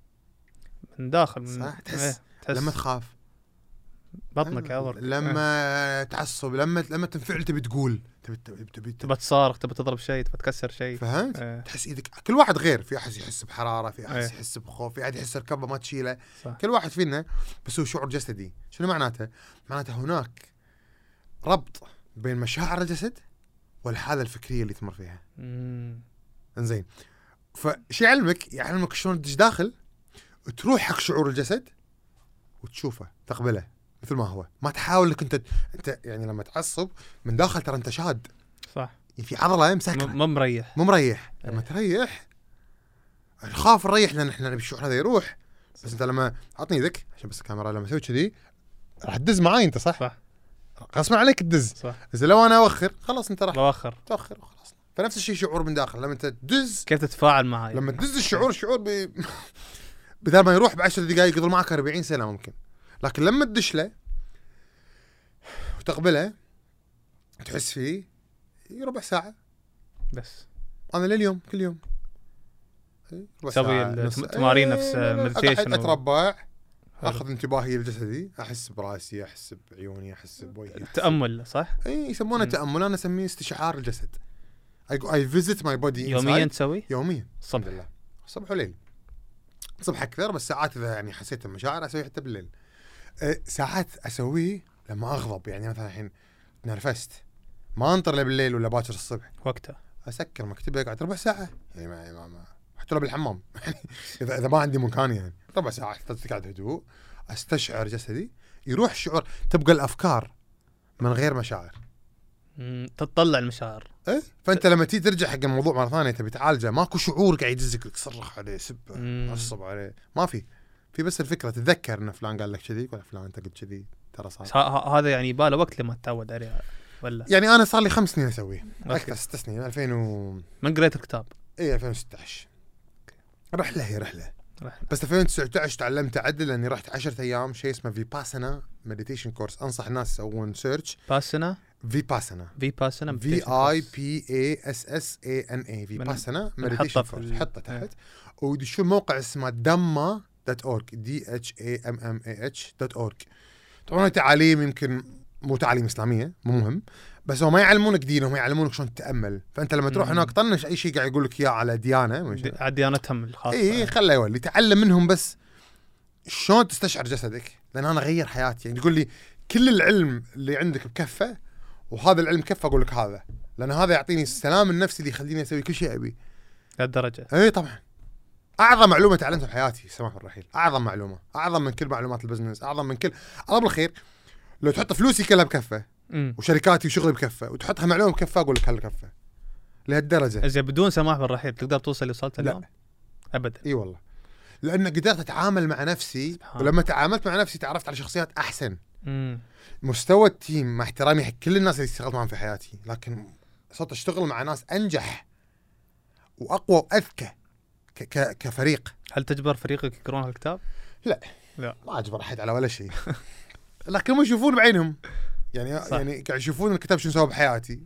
من داخل من صح إيه. تحس تحس لما تخاف بطنك إيه. آه. عضلك لما تعصب لما لما تنفعل تبي تقول تبي تبي تبي, تبي تبى تصارخ تبى تضرب شيء تبى تكسر شيء فهمت؟ إيه. تحس ايدك كل واحد غير في احد يحس بحراره في احد إيه. يحس بخوف في احد يحس ركبه ما تشيله صح. كل واحد فينا بس هو شعور جسدي شنو معناته؟ معناته هناك ربط بين مشاعر الجسد والحاله الفكريه اللي تمر فيها مم. انزين فشي يعلمك يعلمك شلون تدش داخل تروح حق شعور الجسد وتشوفه تقبله مثل ما هو ما تحاول انك انت انت يعني لما تعصب من داخل ترى انت شاد يعني صح في عضله م- مسكره مو مريح مو مريح لما إيه. تريح نخاف نريح لان احنا نبي الشعور هذا يروح بس انت لما عطني يدك عشان بس الكاميرا لما تسوي كذي راح تدز معاي انت صح؟ صح. غصبا عليك تدز صح اذا لو انا اوخر خلاص انت راح بواخر تاخر وخلاص فنفس الشيء شعور من داخل لما انت تدز كيف تتفاعل يعني؟ معاي لما تدز الشعور الشعور ب... <laughs> بدل ما يروح بعشر دقائق يقضي معك 40 سنه ممكن لكن لما تدش له وتقبله تحس فيه ربع ساعه بس انا لليوم كل يوم تسوي ربع ساعة، التم- نص- تمارين إيه، نفس لا، لا، meditation أقعد و- اتربع حلو. اخذ انتباهي الجسدي احس براسي احس بعيوني احس بوجهي أحس التامل صح؟ اي إيه، يسمونه مم. تامل انا اسميه استشعار الجسد اي فيزيت ماي بودي يوميا تسوي؟ يوميا الصبح الحمد لله صبح وليل صبح اكثر بس ساعات اذا يعني حسيت بمشاعر اسويه حتى بالليل أه ساعات اسويه لما اغضب يعني مثلا الحين تنرفزت ما انطر لا بالليل ولا باكر الصبح وقته اسكر مكتبي اقعد ربع ساعه يعني ما ما, ما حتى لو بالحمام <laughs> يعني اذا اذا ما عندي مكان يعني ربع ساعه احتاج تقعد هدوء استشعر جسدي يروح الشعور تبقى الافكار من غير مشاعر مم، تتطلع المشاعر ايه فانت لما تيجي ترجع حق الموضوع مره ثانيه تبي تعالجه ماكو شعور قاعد يدزك لك صرخ عليه سبه مم. عصب عليه ما في في بس الفكره تتذكر ان فلان قال لك كذي ولا فلان انت قلت كذي ترى بس صار ه- ه- هذا يعني يباله وقت لما تتعود عليها ولا يعني انا صار لي خمس سنين اسويه أوكي. اكثر ست سنين 2000 و من قريت الكتاب اي 2016 رحله هي رحله رحلة. بس 2019 تعلمت اعدل لاني رحت 10 ايام شيء اسمه فيباسنا مديتيشن كورس انصح الناس يسوون سيرش باسنا فيباسنا في باسنا في اي بي اي اس اس اي ان اي في باسنا بنحطها مديتيشن في كورس ال- إيه. حطه تحت ويدشون موقع اسمه دما دوت اورج دي اتش اي ام ام اي اتش دوت اورج طبعا هاي تعاليم يمكن مو تعاليم اسلاميه مو مهم بس هو ما يعلمونك دين هم يعلمونك شلون تتامل فانت لما تروح مم. هناك طنش اي شيء قاعد يقول لك اياه على ديانه ما شاء الله. على ديانتهم الخاصه اي خله إيه، يولي تعلم منهم بس شلون تستشعر جسدك لان انا غير حياتي يعني تقول لي كل العلم اللي عندك بكفه وهذا العلم كفه اقول لك هذا لان هذا يعطيني السلام النفسي اللي يخليني اسوي كل شيء إيه، ابي لهالدرجه اي طبعا اعظم معلومه تعلمتها بحياتي سماح الرحيل اعظم معلومه اعظم من كل معلومات البزنس اعظم من كل الله بالخير لو تحط فلوسي كلها بكفه امم وشركاتي وشغلي بكفه وتحطها معلومه بكفه اقول لك هالكفه لهالدرجه اذا بدون سماح بالرحيل تقدر توصل اللي وصلت لا. اليوم؟ ابدا اي والله لان قدرت اتعامل مع نفسي سبحان ولما تعاملت مع نفسي تعرفت على شخصيات احسن امم مستوى التيم مع احترامي حق كل الناس اللي اشتغلت معهم في حياتي لكن صرت اشتغل مع ناس انجح واقوى واذكى ك- ك- كفريق هل تجبر فريقك يقرون هالكتاب؟ ما اجبر احد على ولا <laughs> شيء لكن هم يشوفون بعينهم يعني صح. يعني قاعد يشوفون الكتاب شنو سوى بحياتي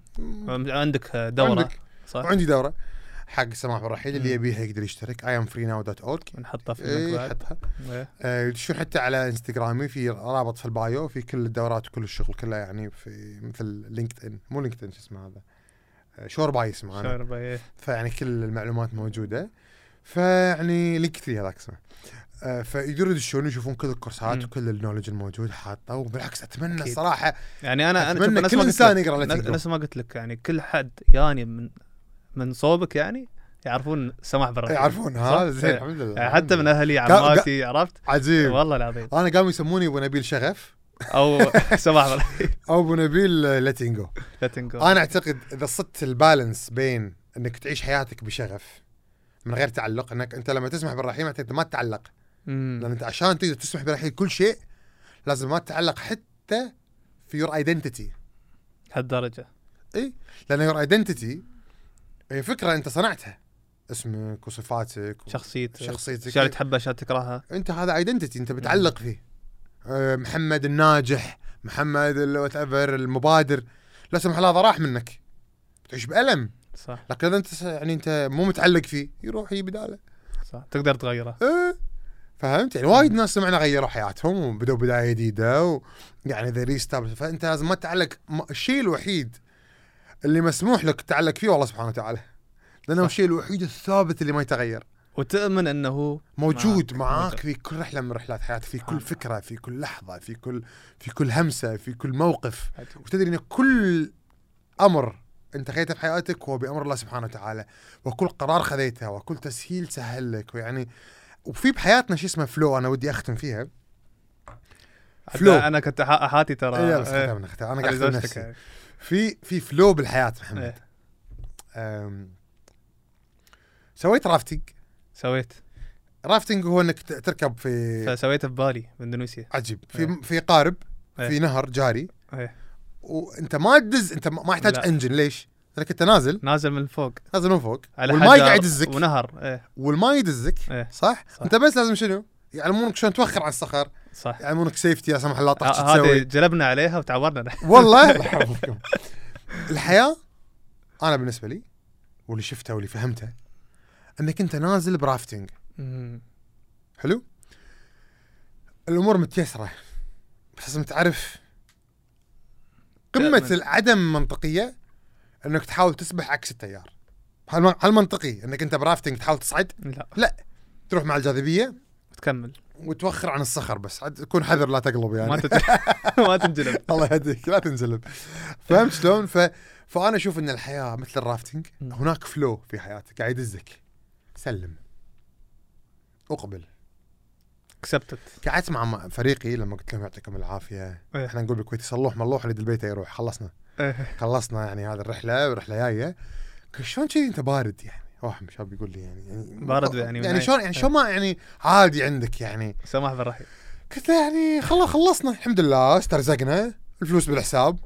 عندك آه، دوره عندك. صح؟ وعندي دوره حق سماح الرحيل اللي مم. يبيها يقدر يشترك اي ام فري ناو دوت اورج نحطها في اللينك بعد. حطها إيه. آه، يدشون حتى على انستغرامي في رابط في البايو في كل الدورات وكل الشغل كله يعني في مثل لينكد ان مو لينكد ان شو اسمه هذا آه، شور باي اسمه انا شعر بإيه. فيعني كل المعلومات موجوده فيعني لينكد لي هذاك اسمه آه، فيقدروا يدشون يشوفون كل الكورسات مم. وكل النولج الموجود حاطه وبالعكس اتمنى أكيد. صراحه يعني انا انا شوف، اتمنى نفس ما قلت كل انسان لك- يقرا نفس- Let's Go. نفس ما قلت لك يعني كل حد ياني من من صوبك يعني يعرفون سماح بالرحيل يعرفون صح؟ ها زين إيه. الحمد لله يعني حتى من اهلي قا- إيه. عماتي عرفت؟ عجيب والله العظيم انا قاموا يسموني ابو نبيل شغف او <laughs> سماح بالرحيل او ابو نبيل آه، لاتينجو لا تنقول انا اعتقد اذا صدت البالانس بين انك تعيش حياتك بشغف من غير تعلق انك انت لما تسمح بالرحيل معناته انت ما تتعلق لان انت عشان تقدر تسمح بالرحيل كل شيء لازم ما تتعلق حتى في يور ايدنتيتي هالدرجه اي لان يور ايدنتيتي هي فكره انت صنعتها اسمك وصفاتك و- شخصيتك شخصيتك. الاشياء اللي تحبها الاشياء اللي تكرهها انت هذا ايدنتيتي انت بتعلق فيه أه، محمد الناجح محمد الوات ايفر المبادر لا سمح الله هذا راح منك بتعيش بالم صح لكن اذا انت يعني انت مو متعلق فيه يروح يجيب بداله صح تقدر تغيره إيه. فهمت يعني وايد ناس سمعنا غيروا حياتهم وبدوا بدايه جديده و... يعني ذا ريستارت فانت لازم ما تتعلق ما- الشيء الوحيد اللي مسموح لك تتعلق فيه والله سبحانه وتعالى لانه صح. الشيء الوحيد الثابت اللي ما يتغير وتؤمن انه موجود معاك. معاك في كل رحله من رحلات حياتك في سبحان كل الله. فكره في كل لحظه في كل في كل همسه في كل موقف عجيب. وتدري ان كل امر انت خذيته في حياتك هو بامر الله سبحانه وتعالى وكل قرار خذيته وكل تسهيل سهل لك ويعني وفي بحياتنا شيء اسمه فلو انا ودي اختم فيها فلو. انا كنت أح- احاتي ترى إيه، لا بس إيه، ختمنا ختمنا انا على قاعد أختم زوجتك نفسي يعني. في في فلو بالحياه محمد إيه، أم، سويت رافتنج سويت رافتنج هو انك ت- تركب في فسويته ببالي باندونيسيا عجيب إيه. في في قارب في إيه. نهر جاري إيه. وانت ما تدز انت ما ما يحتاج لا. انجن ليش؟ لانك انت نازل نازل من فوق نازل من فوق على والماي حجر قاعد يدزك ونهر ايه والماي يدزك إيه. صح؟ صح. انت بس لازم شنو؟ يعلمونك شلون توخر على الصخر صح يعلمونك سيفتي لا سمح الله طخش ه- هذه تسوي جلبنا عليها وتعورنا <laughs> والله الله يحفظكم. الحياه انا بالنسبه لي واللي شفته واللي فهمته انك انت نازل برافتنج مم. حلو الامور متيسره بس لازم تعرف قمه دائماً. العدم منطقيه انك تحاول تسبح عكس التيار هل هل منطقي انك انت برافتنج تحاول تصعد لا تروح مع الجاذبيه تكمل وتوخر عن الصخر بس عاد كون حذر لا تقلب يعني ما تت- ما تنجلب <laughs> الله يهديك لا تنزلب فهمت شلون ف... فانا اشوف ان الحياه مثل الرافتنج مم. هناك فلو في حياتك قاعد يدزك سلم اقبل اكسبتت قعدت مع م- فريقي لما قلت لهم يعطيكم العافيه إيه. احنا نقول بالكويت صلوح ملوح اللي البيت يروح خلصنا خلصنا يعني هذه الرحله ورحله جايه قلت شلون كذي انت بارد يعني واحد من الشباب يقول لي يعني يعني بارد يعني يعني ونايم. شلون يعني شلون ما يعني عادي عندك يعني سماح بالرحيم قلت له يعني خلاص خلصنا الحمد لله استرزقنا الفلوس بالحساب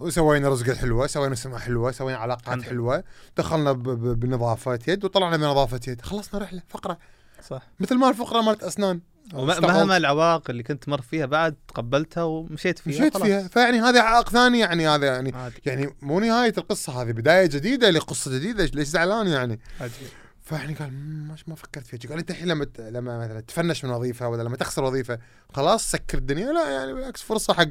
وسوينا رزقة حلوة سوينا سمعة حلوة سوينا علاقات الحمد لله. حلوة دخلنا ب- ب- بنظافة يد وطلعنا بنظافة يد خلصنا رحلة فقرة صح مثل ما الفقرة مالت أسنان استعوضت. ومهما العوائق اللي كنت مر فيها بعد تقبلتها ومشيت فيها آه. مشيت خلاص. فيها فيعني هذا عائق ثاني يعني هذا يعني عادي يعني مو نهاية القصة هذه بداية جديدة لقصة جديدة ليش زعلان يعني عادي فيعني قال "مم، ما ما فكرت فيها قال انت الحين لما ت- لما مثلا تفنش من وظيفه ولا لما تخسر وظيفه خلاص سكر الدنيا لا يعني بالعكس فرصه حق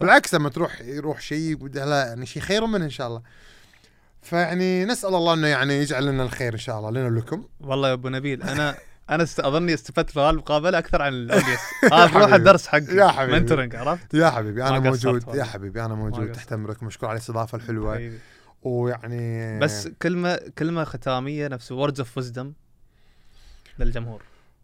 بالعكس لما تروح يروح شيء وده- لا يعني شيء خير منه ان شاء الله فيعني نسال الله انه يعني يجعل لنا الخير ان شاء الله لنا ولكم والله يا ابو نبيل انا انا است... اظني استفدت في هالمقابله اكثر عن الاوديس <laughs> هذا روح الدرس حقي يا حبيبي. منتورنج عرفت؟ يا حبيبي انا ما قصرت موجود يا والله. حبيبي انا موجود قصرت. تحت امرك مشكور على الاستضافه الحلوه حبيبي. ويعني بس كلمه كلمه ختاميه نفس وردز اوف وزدم للجمهور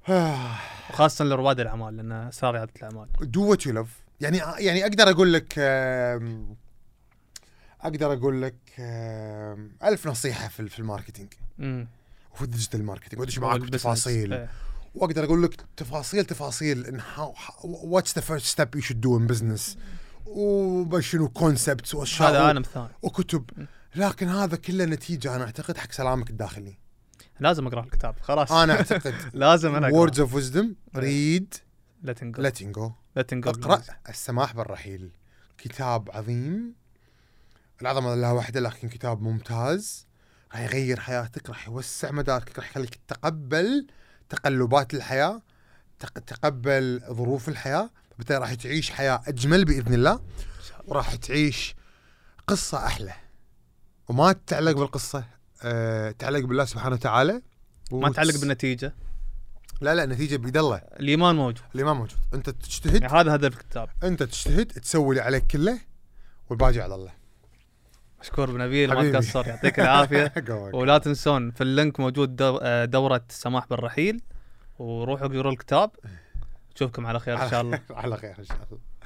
آه. وخاصه لرواد الاعمال لان اسرار رياده الاعمال دو وات يو لاف يعني يعني اقدر اقول لك آم، اقدر اقول لك آم، الف نصيحه في في الماركتينج امم وفي الديجيتال ماركتينج وادش معاك والبزنس. تفاصيل إيه. واقدر اقول لك تفاصيل تفاصيل ان هاو واتس ذا فيرست ستيب يو شود دو ان بزنس وشنو كونسبتس هذا واشياء عالم ثاني وكتب لكن هذا كله نتيجه انا اعتقد حق سلامك الداخلي <laughs> لازم اقرا الكتاب خلاص انا اعتقد لازم انا اقرا ووردز اوف ويزدم إيه. ريد لتن جو ليتنج جو لتن جو اقرا السماح بالرحيل كتاب عظيم العظمه لها واحده لكن كتاب ممتاز راح يغير حياتك راح يوسع مداركك راح يخليك تتقبل تقلبات الحياه تق- تقبل ظروف الحياه بالتالي راح تعيش حياه اجمل باذن الله وراح تعيش قصه احلى وما تتعلق بالقصه أه تعلق بالله سبحانه وتعالى ما تعلق وتس- بالنتيجه لا لا النتيجه بيد الله الايمان موجود اللي ما موجود انت تجتهد يعني هذا هدف الكتاب انت تجتهد تسوي اللي عليك كله والباقي على الله مشكور ابو نبيل ما حبيبي. تقصر يعطيك <laughs> العافيه قواك. ولا تنسون في اللينك موجود دو- آه، دورة سماح بالرحيل وروحوا اقروا الكتاب نشوفكم على خير ان شاء الله <laughs> على خير ان شاء الله